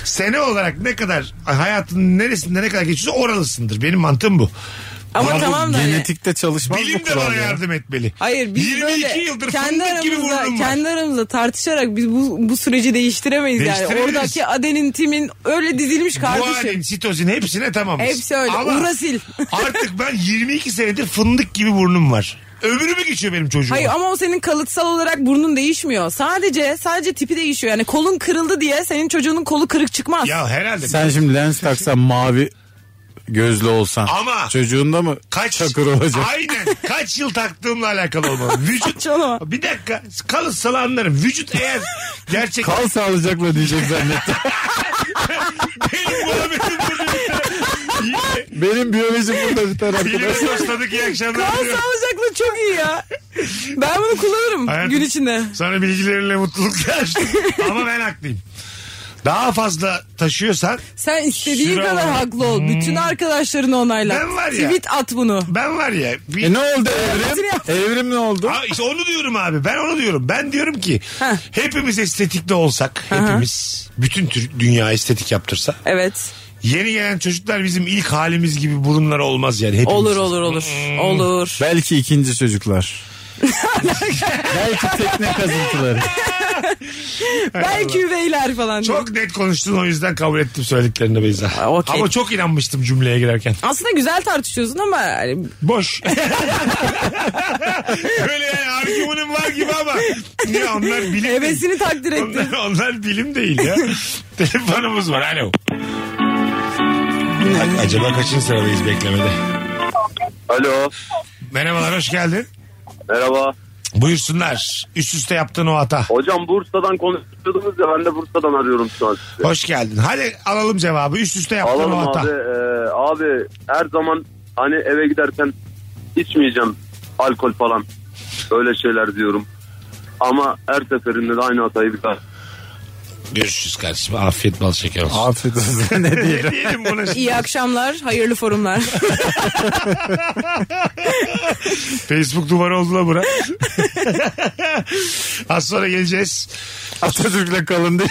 [SPEAKER 3] sene olarak ne kadar hayatının neresinde ne kadar geçiyorsa oralısındır benim mantığım bu
[SPEAKER 4] ama tamam da hani-
[SPEAKER 5] Genetikte çalışmaz mı
[SPEAKER 3] bilim de
[SPEAKER 5] kural
[SPEAKER 3] bana
[SPEAKER 5] ya?
[SPEAKER 3] yardım etmeli
[SPEAKER 4] Hayır biz
[SPEAKER 3] 22
[SPEAKER 4] böyle
[SPEAKER 3] yıldır
[SPEAKER 4] kendi
[SPEAKER 3] fındık gibi
[SPEAKER 4] aramızda,
[SPEAKER 3] burnum var
[SPEAKER 4] kendi aramızda tartışarak biz bu, bu süreci değiştiremeyiz yani.
[SPEAKER 3] Değiştiremeyiz.
[SPEAKER 4] Oradaki adenin timin öyle dizilmiş
[SPEAKER 3] Guanin,
[SPEAKER 4] kardeşim.
[SPEAKER 3] sitozin hepsine tamamız.
[SPEAKER 4] şey. Hepsi öyle. Urasil.
[SPEAKER 3] artık ben 22 senedir fındık gibi burnum var. Ömrü mü geçiyor benim çocuğum?
[SPEAKER 4] Hayır ama o senin kalıtsal olarak burnun değişmiyor. Sadece sadece tipi değişiyor. Yani kolun kırıldı diye senin çocuğunun kolu kırık çıkmaz.
[SPEAKER 3] Ya herhalde.
[SPEAKER 5] Sen şimdi lens taksan mavi gözlü olsan.
[SPEAKER 3] Ama-
[SPEAKER 5] Çocuğunda mı
[SPEAKER 3] Kaç
[SPEAKER 5] çakır olacak?
[SPEAKER 3] Aynen. Kaç yıl taktığımla alakalı olmalı.
[SPEAKER 4] (laughs)
[SPEAKER 3] Vücut.
[SPEAKER 4] Saçmalama.
[SPEAKER 3] bir dakika. Kalırsa anlarım. Vücut eğer gerçek
[SPEAKER 5] Kal sağlıcakla diyecek
[SPEAKER 3] (laughs)
[SPEAKER 5] zannettim.
[SPEAKER 3] benim bulabildim burada bir taraf.
[SPEAKER 5] Benim biyolojim burada bir taraf.
[SPEAKER 3] Bilimi rastladık iyi akşamlar.
[SPEAKER 4] Kal
[SPEAKER 3] diliyorum.
[SPEAKER 4] sağlıcaklığı çok iyi ya. Ben bunu kullanırım
[SPEAKER 3] Hayatım-
[SPEAKER 4] gün içinde.
[SPEAKER 3] Sana bilgilerinle mutluluklar. Ama ben haklıyım. Daha fazla taşıyorsan
[SPEAKER 4] Sen istediğin
[SPEAKER 3] Şura
[SPEAKER 4] kadar
[SPEAKER 3] var.
[SPEAKER 4] haklı ol. Bütün arkadaşlarını onayla.
[SPEAKER 3] Ben var ya-
[SPEAKER 4] Tweet at bunu.
[SPEAKER 3] ben var ya. Bir...
[SPEAKER 5] E ne oldu evrim? Evrim ne oldu?
[SPEAKER 3] Ha, işte onu diyorum abi. Ben onu diyorum. Ben diyorum ki
[SPEAKER 4] Heh.
[SPEAKER 3] hepimiz estetikli olsak, hepimiz bütün tür- dünya estetik yaptırsa
[SPEAKER 4] Evet.
[SPEAKER 3] Yeni gelen çocuklar bizim ilk halimiz gibi burunları olmaz yani. Hepimiz.
[SPEAKER 4] Olur olur olur.
[SPEAKER 3] Hmm.
[SPEAKER 4] Olur.
[SPEAKER 5] Belki ikinci
[SPEAKER 3] (laughs)
[SPEAKER 5] çocuklar. Belki tekne kazıntıları.
[SPEAKER 4] Belki üveyler falan.
[SPEAKER 3] Çok net konuştun o yüzden kabul ettim söylediklerini Beyza.
[SPEAKER 4] okey.
[SPEAKER 3] Ama çok inanmıştım cümleye girerken.
[SPEAKER 4] Aslında güzel tartışıyorsun ama hani
[SPEAKER 3] Boş. Öyle yani argümanım var gibi ama. Niye onlar bilim değil.
[SPEAKER 4] hevesini
[SPEAKER 3] (laughs)
[SPEAKER 4] takdir ettim.
[SPEAKER 3] Onlar, onlar bilim değil ya. Telefonumuz var. Alo. A- acaba kaçıncı sıradayız beklemede?
[SPEAKER 7] Alo.
[SPEAKER 3] Merhabalar hoş geldin.
[SPEAKER 7] Merhaba.
[SPEAKER 3] Buyursunlar. Üst üste yaptığın o hata.
[SPEAKER 7] Hocam Bursa'dan konuşuyordunuz ya ben de Bursa'dan arıyorum şu an sizi.
[SPEAKER 3] Hoş geldin. Hadi alalım cevabı. Üst üste yaptığın
[SPEAKER 7] Alalım
[SPEAKER 3] o hata.
[SPEAKER 7] abi. Ee, abi her zaman hani eve giderken içmeyeceğim alkol falan. Öyle şeyler diyorum. Ama her seferinde de aynı hatayı bir daha.
[SPEAKER 3] Görüşürüz kardeşim. Afiyet bal şeker olsun.
[SPEAKER 5] Afiyet olsun. ne diyelim.
[SPEAKER 3] Ne diyelim buna şimdi?
[SPEAKER 4] İyi akşamlar, hayırlı forumlar.
[SPEAKER 3] (laughs) Facebook duvarı oldu la bura. Az sonra geleceğiz.
[SPEAKER 5] (laughs) Atatürk'le kalın değil.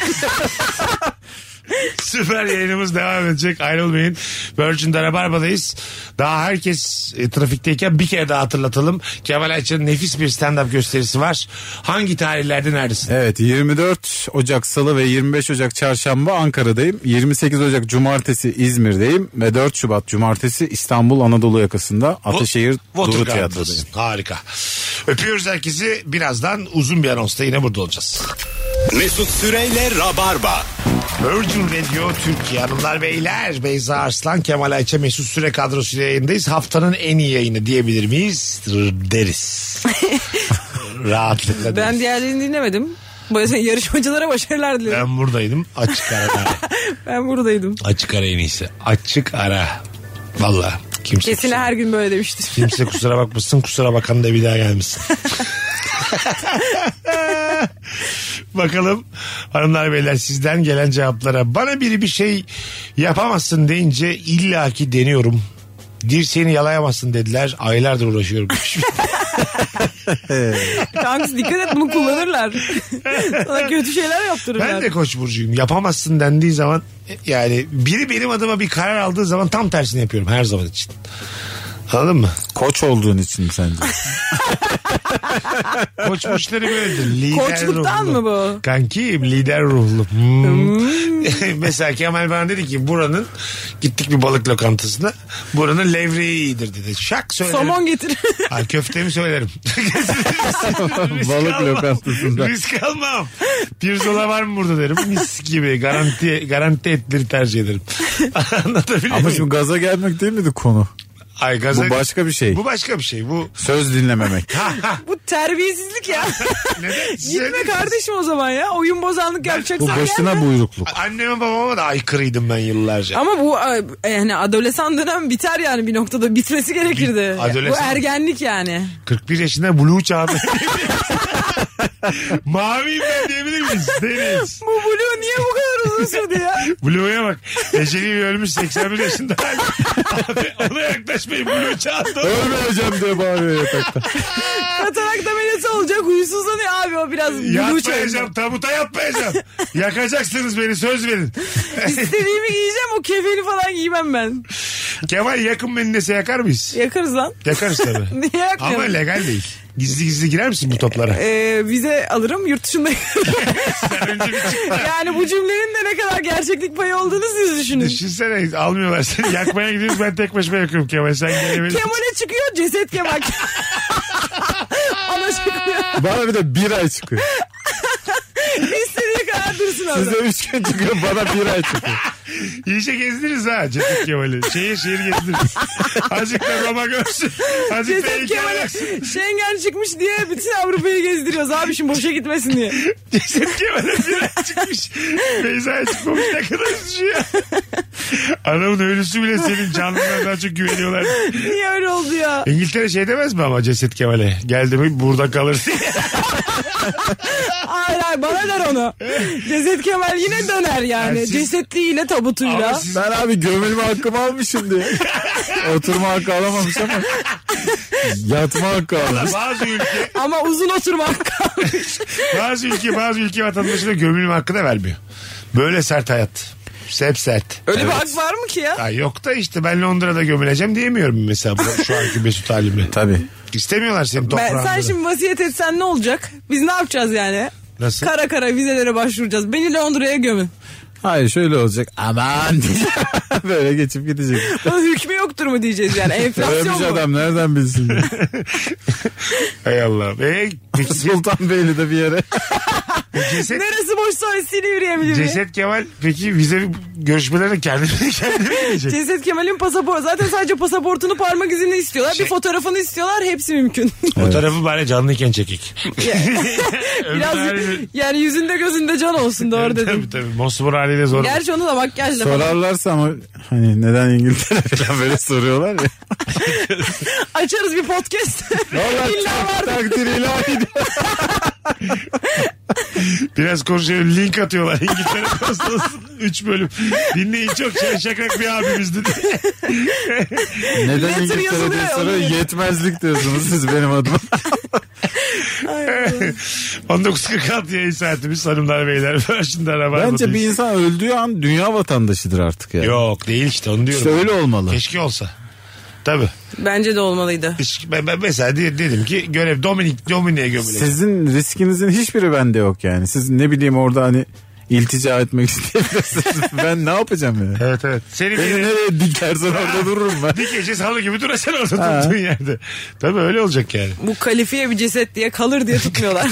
[SPEAKER 3] Süper yayınımız devam edecek. Ayrılmayın. Virgin'de Rabarba'dayız. Daha herkes e, trafikteyken bir kere daha hatırlatalım. Kemal Ayça'nın nefis bir stand-up gösterisi var. Hangi tarihlerde neredesin?
[SPEAKER 5] Evet 24 Ocak Salı ve 25 Ocak Çarşamba Ankara'dayım. 28 Ocak Cumartesi İzmir'deyim. Ve 4 Şubat Cumartesi İstanbul Anadolu yakasında Ataşehir Duru
[SPEAKER 3] Waterground'dasın.
[SPEAKER 5] Tiyatro'dayım.
[SPEAKER 3] Harika. Öpüyoruz herkesi. Birazdan uzun bir anonsta yine burada olacağız.
[SPEAKER 2] Mesut Süreyle Rabarba.
[SPEAKER 3] Virgin Radio Türkiye Hanımlar Beyler Beyza Arslan Kemal Ayça Mesut Süre kadrosuyla yayındayız. Haftanın en iyi yayını diyebilir miyiz? Deriz. Rahatlıkla
[SPEAKER 4] Ben
[SPEAKER 3] ben,
[SPEAKER 4] diğerlerini dinlemedim. Böyle (laughs) yarışmacılara başarılar dilerim.
[SPEAKER 3] ben buradaydım. Açık ara.
[SPEAKER 4] Ben buradaydım.
[SPEAKER 3] (laughs) Açık ara en iyisi. Açık ara. Valla. Kimse,
[SPEAKER 4] Kesin
[SPEAKER 3] kusura,
[SPEAKER 4] her gün böyle demiştir.
[SPEAKER 3] (laughs) kimse kusura bakmasın. Kusura bakan da bir daha gelmesin. Bakalım hanımlar beyler sizden gelen cevaplara. Bana biri bir şey yapamazsın deyince illaki deniyorum. Dirseğini yalayamazsın dediler. Aylardır uğraşıyorum.
[SPEAKER 4] Kanka dikkat et bunu
[SPEAKER 3] (laughs)
[SPEAKER 4] kullanırlar. Sana kötü şeyler yaptırırlar.
[SPEAKER 3] ben de koç burcuyum. Yapamazsın dendiği zaman yani biri benim adıma bir karar aldığı zaman tam tersini yapıyorum her zaman için. Anladın mı?
[SPEAKER 5] Koç olduğun için
[SPEAKER 3] (laughs)
[SPEAKER 5] mi sence.
[SPEAKER 3] Koç burçları böyledir. Lider
[SPEAKER 4] Koçluktan
[SPEAKER 3] ruhlu.
[SPEAKER 4] mı bu?
[SPEAKER 3] Kankim lider ruhlu. Hmm. (laughs) Mesela Kemal bana dedi ki buranın gittik bir balık lokantasına. Buranın levreği iyidir dedi. Şak söylerim.
[SPEAKER 4] Somon getir. (laughs)
[SPEAKER 3] Ha, köftemi
[SPEAKER 5] (laughs)
[SPEAKER 3] söylerim. Risk
[SPEAKER 5] Balık
[SPEAKER 3] almam.
[SPEAKER 5] lokantasında.
[SPEAKER 3] Risk almam. Pirzola var mı burada derim. Mis gibi garanti garanti etleri tercih ederim. (laughs) Anlatabiliyor
[SPEAKER 5] Ama
[SPEAKER 3] muyum?
[SPEAKER 5] şimdi gaza gelmek değil miydi konu?
[SPEAKER 3] Ay, gaza-
[SPEAKER 5] bu başka bir şey.
[SPEAKER 3] Bu başka bir şey.
[SPEAKER 5] (laughs)
[SPEAKER 3] Bu
[SPEAKER 5] Söz dinlememek.
[SPEAKER 4] bu terbiyesizlik ya.
[SPEAKER 3] neden?
[SPEAKER 4] Gitme kardeşim o zaman ya. Oyun bozanlık
[SPEAKER 5] Bu
[SPEAKER 4] yapacaksan gel.
[SPEAKER 5] başına buyrukluk.
[SPEAKER 3] Anneme babama da aykırıydım ben yıllarca.
[SPEAKER 4] Ama bu e, yani adolesan dönem biter yani bir noktada bitmesi gerekirdi.
[SPEAKER 3] Bir- adolesan-
[SPEAKER 4] Bu ergenlik yani.
[SPEAKER 3] 41 yaşında Blue çağırdı. (laughs) Maviyim ben diyebilir miyiz? Deniz.
[SPEAKER 4] Bu Blue niye bu kadar uzun
[SPEAKER 3] (laughs)
[SPEAKER 4] sürdü ya?
[SPEAKER 3] Blue'ya bak. Eceli ölmüş 81 yaşında. (laughs) Abi, ona yaklaşmayın. Blue çağırdı.
[SPEAKER 5] Ölmeyeceğim diye bağırıyor yatakta.
[SPEAKER 4] Katarak ameliyatı olacak huysuzlanıyor abi o biraz blue çağırdı.
[SPEAKER 3] Yatmayacağım. Tabuta yatmayacağım. (laughs) Yakacaksınız beni. Söz verin.
[SPEAKER 4] İstediğimi giyeceğim o kefeni falan giymem ben.
[SPEAKER 3] Kemal yakın mendese yakar mıyız?
[SPEAKER 4] Yakarız lan. (laughs)
[SPEAKER 3] Yakarız (laughs) tabii.
[SPEAKER 4] Niye yakmıyorum?
[SPEAKER 3] Ama legal değil. Gizli gizli girer misin bu toplara?
[SPEAKER 4] Ee, vize alırım yurt dışında.
[SPEAKER 3] (laughs) Önce bir çık.
[SPEAKER 4] yani bu cümlenin de ne kadar gerçeklik payı olduğunu siz düşünün.
[SPEAKER 3] Düşünsene almıyorlar seni. Yakmaya gidiyoruz ben tek başıma yakıyorum Kemal. Sen gelebilirsin.
[SPEAKER 4] Kemal'e çıkıyor ceset Kemal. (laughs) Ona çıkıyor.
[SPEAKER 5] Bana bir de bir ay çıkıyor.
[SPEAKER 4] İstediği kadar dursun orada.
[SPEAKER 5] Size üç gün çıkıyor bana bir ay çıkıyor.
[SPEAKER 3] İyice gezdiririz ha Ceset Kemal'i. Şehir şehir (laughs) gezdiririz. Azıcık da Roma görsün. Azıcık da
[SPEAKER 4] Ceset
[SPEAKER 3] ilk
[SPEAKER 4] Kemal'e
[SPEAKER 3] ayaksın.
[SPEAKER 4] (laughs) Schengen çıkmış diye bütün Avrupa'yı gezdiriyoruz abi şimdi boşa gitmesin diye.
[SPEAKER 3] Ceset Kemal'e bir ay çıkmış. Beyza'ya çıkmamış ne kadar üzücü ya. Adamın ölüsü bile senin canlılığına daha çok güveniyorlar.
[SPEAKER 4] Niye öyle oldu ya?
[SPEAKER 3] İngiltere şey demez mi ama Ceset Kemal'e? Geldi mi burada kalır (laughs) diye.
[SPEAKER 4] Hayır hayır bana der
[SPEAKER 3] (laughs)
[SPEAKER 4] onu. Ceset Kemal yine döner yani.
[SPEAKER 3] Ya siz-
[SPEAKER 4] Cesetliğiyle
[SPEAKER 3] Ama
[SPEAKER 4] tabutuyla.
[SPEAKER 3] siz-
[SPEAKER 5] Ben abi gömülme hakkımı almışım diye. Oturma hakkı alamamış ama. Yatma hakkı almış.
[SPEAKER 3] Bazı ülke,
[SPEAKER 4] Ama uzun oturmak
[SPEAKER 3] (laughs) bazı ülke, bazı ülke vatandaşına gömülme hakkı da vermiyor. Böyle sert hayat. Hep sert.
[SPEAKER 4] Öyle bir hak var mı ki ya?
[SPEAKER 3] Ya yok da işte ben Londra'da gömüleceğim diyemiyorum mesela bu- şu anki Mesut halime.
[SPEAKER 5] Tabii.
[SPEAKER 3] İstemiyorlar senin
[SPEAKER 4] Ben,
[SPEAKER 3] toprağında.
[SPEAKER 4] sen şimdi vasiyet etsen ne olacak? Biz ne yapacağız yani?
[SPEAKER 3] Nasıl?
[SPEAKER 4] Kara kara vizelere başvuracağız. Beni
[SPEAKER 3] (laughs)
[SPEAKER 4] Londra'ya gömün.
[SPEAKER 5] Hayır şöyle olacak. Aman diye. (laughs) böyle geçip gidecek.
[SPEAKER 4] Hükmü yoktur mu diyeceğiz yani?
[SPEAKER 3] şey
[SPEAKER 5] Ölmüş
[SPEAKER 4] Enflasyon mu?
[SPEAKER 5] adam
[SPEAKER 3] (laughs)
[SPEAKER 5] nereden bilsin?
[SPEAKER 3] Hay Allah. E,
[SPEAKER 4] (laughs)
[SPEAKER 3] peki ce-
[SPEAKER 5] Sultanbeyli'de bir yere.
[SPEAKER 3] ceset,
[SPEAKER 4] Neresi boşsa orasıyla yürüyebilir mi?
[SPEAKER 3] ceset Kemal peki vize görüşmelerine (laughs) kendine kendine mi gidecek?
[SPEAKER 4] Ceset Kemal'in pasaportu. Zaten sadece pasaportunu parmak izini istiyorlar.
[SPEAKER 3] Şey-
[SPEAKER 4] Bir fotoğrafını istiyorlar.
[SPEAKER 3] (laughs)
[SPEAKER 4] Hepsi mümkün.
[SPEAKER 3] O tarafı bari canlıyken çekik.
[SPEAKER 4] Biraz yani yüzünde gözünde can olsun doğru dedim.
[SPEAKER 3] şey- Tabii tabii. Mosmor haliyle zor.
[SPEAKER 4] Gerçi onu da makyajla falan.
[SPEAKER 5] Sorarlarsa ama hani neden İngiltere (laughs) falan böyle soruyorlar ya.
[SPEAKER 4] (laughs) Açarız bir podcast. (laughs)
[SPEAKER 5] Vallahi
[SPEAKER 4] İlla
[SPEAKER 5] çok
[SPEAKER 4] vardır.
[SPEAKER 5] takdir ilahi.
[SPEAKER 3] Biraz konuşuyor. Link atıyorlar. (laughs) İngiltere Konsolosluğu 3 bölüm. Dinleyin çok şey, şakrak bir abimizdi. (laughs)
[SPEAKER 5] Neden
[SPEAKER 4] Letter
[SPEAKER 5] İngiltere
[SPEAKER 4] yazılıyor
[SPEAKER 5] diye
[SPEAKER 4] ya,
[SPEAKER 5] soruyor.
[SPEAKER 4] onu diyor.
[SPEAKER 5] Yetmezlik diyorsunuz siz benim (laughs) adıma.
[SPEAKER 3] 19.46 yayın saatimiz hanımlar beyler. (laughs) Virgin'de Rabarba
[SPEAKER 5] Bence bir
[SPEAKER 3] değil.
[SPEAKER 5] insan öldüğü an dünya vatandaşıdır artık ya.
[SPEAKER 3] Yok değil işte onu diyorum.
[SPEAKER 5] İşte öyle olmalı.
[SPEAKER 3] Keşke olsa. Tabii.
[SPEAKER 4] Bence de olmalıydı.
[SPEAKER 3] Hiç- Ben, ben mesela de- dedim ki görev Dominik Dominik'e gömüleceğim.
[SPEAKER 5] Sizin riskinizin hiçbiri bende yok yani. Siz ne bileyim orada hani iltica etmek (laughs) isteyebilirsiniz. ben ne yapacağım ya?
[SPEAKER 3] Evet evet. Seni
[SPEAKER 5] Beni
[SPEAKER 3] bir
[SPEAKER 5] nereye dikersen orada dururum ben.
[SPEAKER 3] dikeceğiz halı gibi duracaksın orada tuttuğun yerde. Tabii öyle olacak yani.
[SPEAKER 4] Bu kalifiye bir ceset diye kalır diye tutmuyorlar.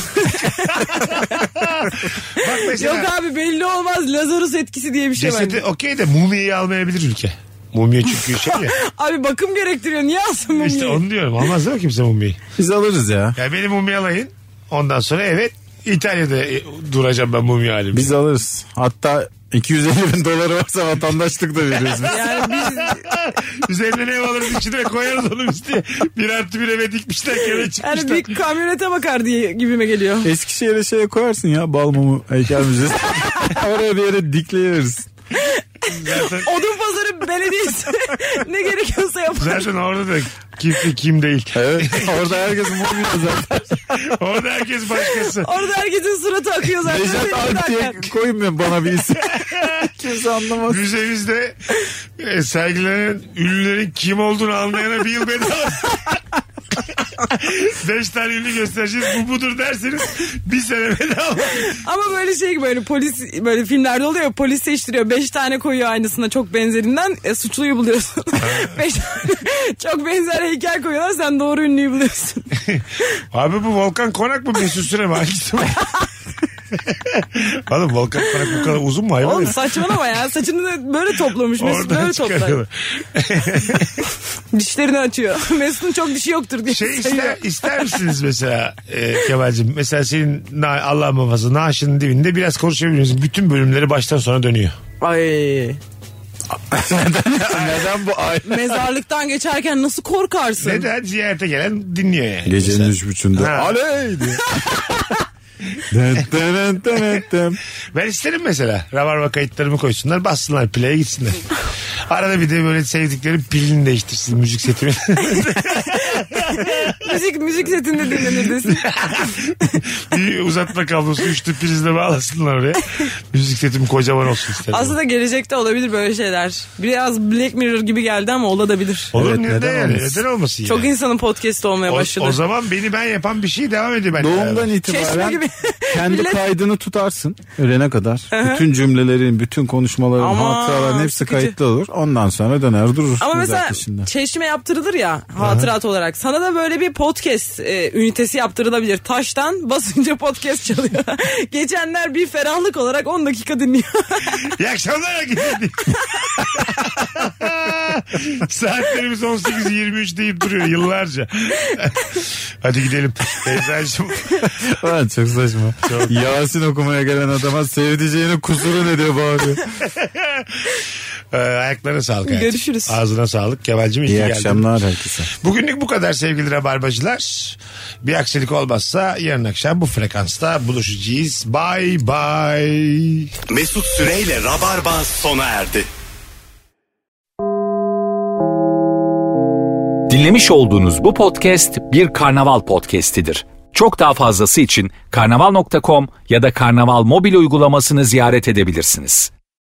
[SPEAKER 3] Bak mesela
[SPEAKER 4] Yok abi belli olmaz. Lazarus etkisi diye bir şey
[SPEAKER 3] cesedi
[SPEAKER 4] var.
[SPEAKER 3] okey de mumiyeyi almayabilir ülke. Mumya çünkü şey ya.
[SPEAKER 4] Abi bakım gerektiriyor. Niye alsın mumyayı?
[SPEAKER 3] işte onu diyorum. Almaz değil mi kimse mumiyeyi?
[SPEAKER 5] Biz alırız ya.
[SPEAKER 3] Ya beni mumyalayın. Ondan sonra evet İtalya'da e, duracağım ben mumya halimde.
[SPEAKER 5] Biz alırız. Hatta 250 bin doları varsa vatandaşlık da veriyoruz biz.
[SPEAKER 4] Yani
[SPEAKER 5] (laughs)
[SPEAKER 4] biz
[SPEAKER 3] Üzerine ne alırız içine koyarız onu biz diye. Bir artı bir eve dikmişler kere çıkmışlar.
[SPEAKER 4] yani bir kamyonete bakar diye gibime geliyor.
[SPEAKER 5] Eskişehir'e şeye koyarsın ya Balmumu heykel müzesi. (laughs) Oraya bir yere dikleyeriz.
[SPEAKER 3] Zaten,
[SPEAKER 4] Odun pazarı belediyesi (laughs) ne gerekiyorsa yapar.
[SPEAKER 3] zaten orada da kimse kim değil.
[SPEAKER 5] Evet. Orada herkes (laughs) mumya zaten.
[SPEAKER 3] Orada herkes başkası.
[SPEAKER 4] Orada herkesin suratı akıyor zaten.
[SPEAKER 5] Nejat
[SPEAKER 4] Benim
[SPEAKER 5] Alp diye
[SPEAKER 4] zaten.
[SPEAKER 5] koymuyor bana bir isim. Kimse anlamaz.
[SPEAKER 3] Müzemizde e, sergilenen ünlülerin kim olduğunu anlayana bir yıl bedava. (laughs) Beş tane ünlü göstereceğiz bu budur derseniz bir sene bedava.
[SPEAKER 4] Ama böyle şey gibi böyle polis böyle filmlerde oluyor ya, polis seçtiriyor. Beş tane koyuyor aynısına çok benzerinden e, suçluyu buluyorsun. (laughs) Beş tane çok benzer heykel koyuyorlar sen doğru ünlüyü buluyorsun.
[SPEAKER 3] Abi bu Volkan Konak mı Mesut Süre mi? Hangisi bu? Oğlum Volkan Konak bu kadar uzun mu hayvan?
[SPEAKER 4] Oğlum
[SPEAKER 3] herif?
[SPEAKER 4] saçmalama ya saçını da böyle toplamış Mesut
[SPEAKER 3] Oradan
[SPEAKER 4] böyle toplar.
[SPEAKER 3] çıkarıyorlar.
[SPEAKER 4] Dişlerini açıyor. (laughs) Mesut'un çok dişi yoktur diye
[SPEAKER 3] Şey
[SPEAKER 4] sayıyor.
[SPEAKER 3] ister, ister misiniz mesela e, Kemal'cim? Mesela senin na, Allah muhafaza naaşının dibinde biraz konuşabiliyorsunuz. Bütün bölümleri baştan sona dönüyor.
[SPEAKER 4] Ay
[SPEAKER 5] Neden bu ay?
[SPEAKER 4] mezarlıktan geçerken nasıl korkarsın?
[SPEAKER 3] Neden? Ziyarete gelen dinliyor yani.
[SPEAKER 5] (laughs) Gecenin üç buçuğunda.
[SPEAKER 3] Ha.
[SPEAKER 5] Aley (laughs) diye. Dın dın dın dın dın.
[SPEAKER 3] Ben isterim mesela. Rabarba kayıtlarımı koysunlar bassınlar play'e gitsinler. Arada bir de böyle sevdikleri pilini değiştirsin müzik setimi.
[SPEAKER 4] müzik müzik setinde dinlenir
[SPEAKER 3] (laughs)
[SPEAKER 4] desin.
[SPEAKER 3] bir uzatma kablosu üçlü prizle bağlasınlar oraya. Müzik setim kocaman olsun isterim.
[SPEAKER 4] Aslında gelecekte olabilir böyle şeyler. Biraz Black Mirror gibi geldi ama olabilir.
[SPEAKER 3] Olur
[SPEAKER 5] Evet,
[SPEAKER 3] neden,
[SPEAKER 5] neden
[SPEAKER 3] yani?
[SPEAKER 5] olmasın?
[SPEAKER 3] Neden olmasın
[SPEAKER 4] Çok
[SPEAKER 3] yani?
[SPEAKER 4] insanın podcast olmaya
[SPEAKER 3] O,
[SPEAKER 4] başladı.
[SPEAKER 3] o zaman beni ben yapan bir şey devam ediyor bence.
[SPEAKER 5] Doğumdan
[SPEAKER 4] Çeşme
[SPEAKER 3] (laughs)
[SPEAKER 5] itibaren
[SPEAKER 4] gibi.
[SPEAKER 5] kendi
[SPEAKER 4] Millet-
[SPEAKER 5] kaydını tutarsın ölene kadar. bütün cümlelerin, bütün konuşmaların,
[SPEAKER 4] Aman,
[SPEAKER 5] hatıraların hepsi
[SPEAKER 4] sıkıcı.
[SPEAKER 5] kayıtlı olur. Ondan sonra döner durursunuz
[SPEAKER 4] ama mesela
[SPEAKER 5] arkasında.
[SPEAKER 4] çeşme yaptırılır ya hatırat olarak. Sana da böyle bir podcast e, ünitesi yaptırılabilir. Taştan basınca (laughs) podcast çalıyor. Geçenler bir ferahlık olarak 10 dakika dinliyor.
[SPEAKER 3] İyi akşamlar hakikaten. (laughs) Saatlerimiz 18.23 deyip duruyor yıllarca. (laughs) Hadi gidelim. Beyza'cığım.
[SPEAKER 5] Ulan çok saçma. Yasin okumaya gelen adama sevdiceğinin kusuru ne diye bağırıyor.
[SPEAKER 3] Ee, ayaklarına sağlık. hayatım.
[SPEAKER 4] Görüşürüz.
[SPEAKER 3] Ağzına sağlık. Kemal'cim iyi,
[SPEAKER 5] İyi
[SPEAKER 3] geldin.
[SPEAKER 5] akşamlar herkese.
[SPEAKER 3] Bugünlük bu kadar sevgili rabarbacılar. Bir aksilik olmazsa yarın akşam bu frekansta buluşacağız. Bye bye.
[SPEAKER 2] Mesut Süreyle Rabarba sona erdi.
[SPEAKER 1] Dinlemiş olduğunuz bu podcast bir karnaval podcastidir. Çok daha fazlası için karnaval.com ya da karnaval mobil uygulamasını ziyaret edebilirsiniz.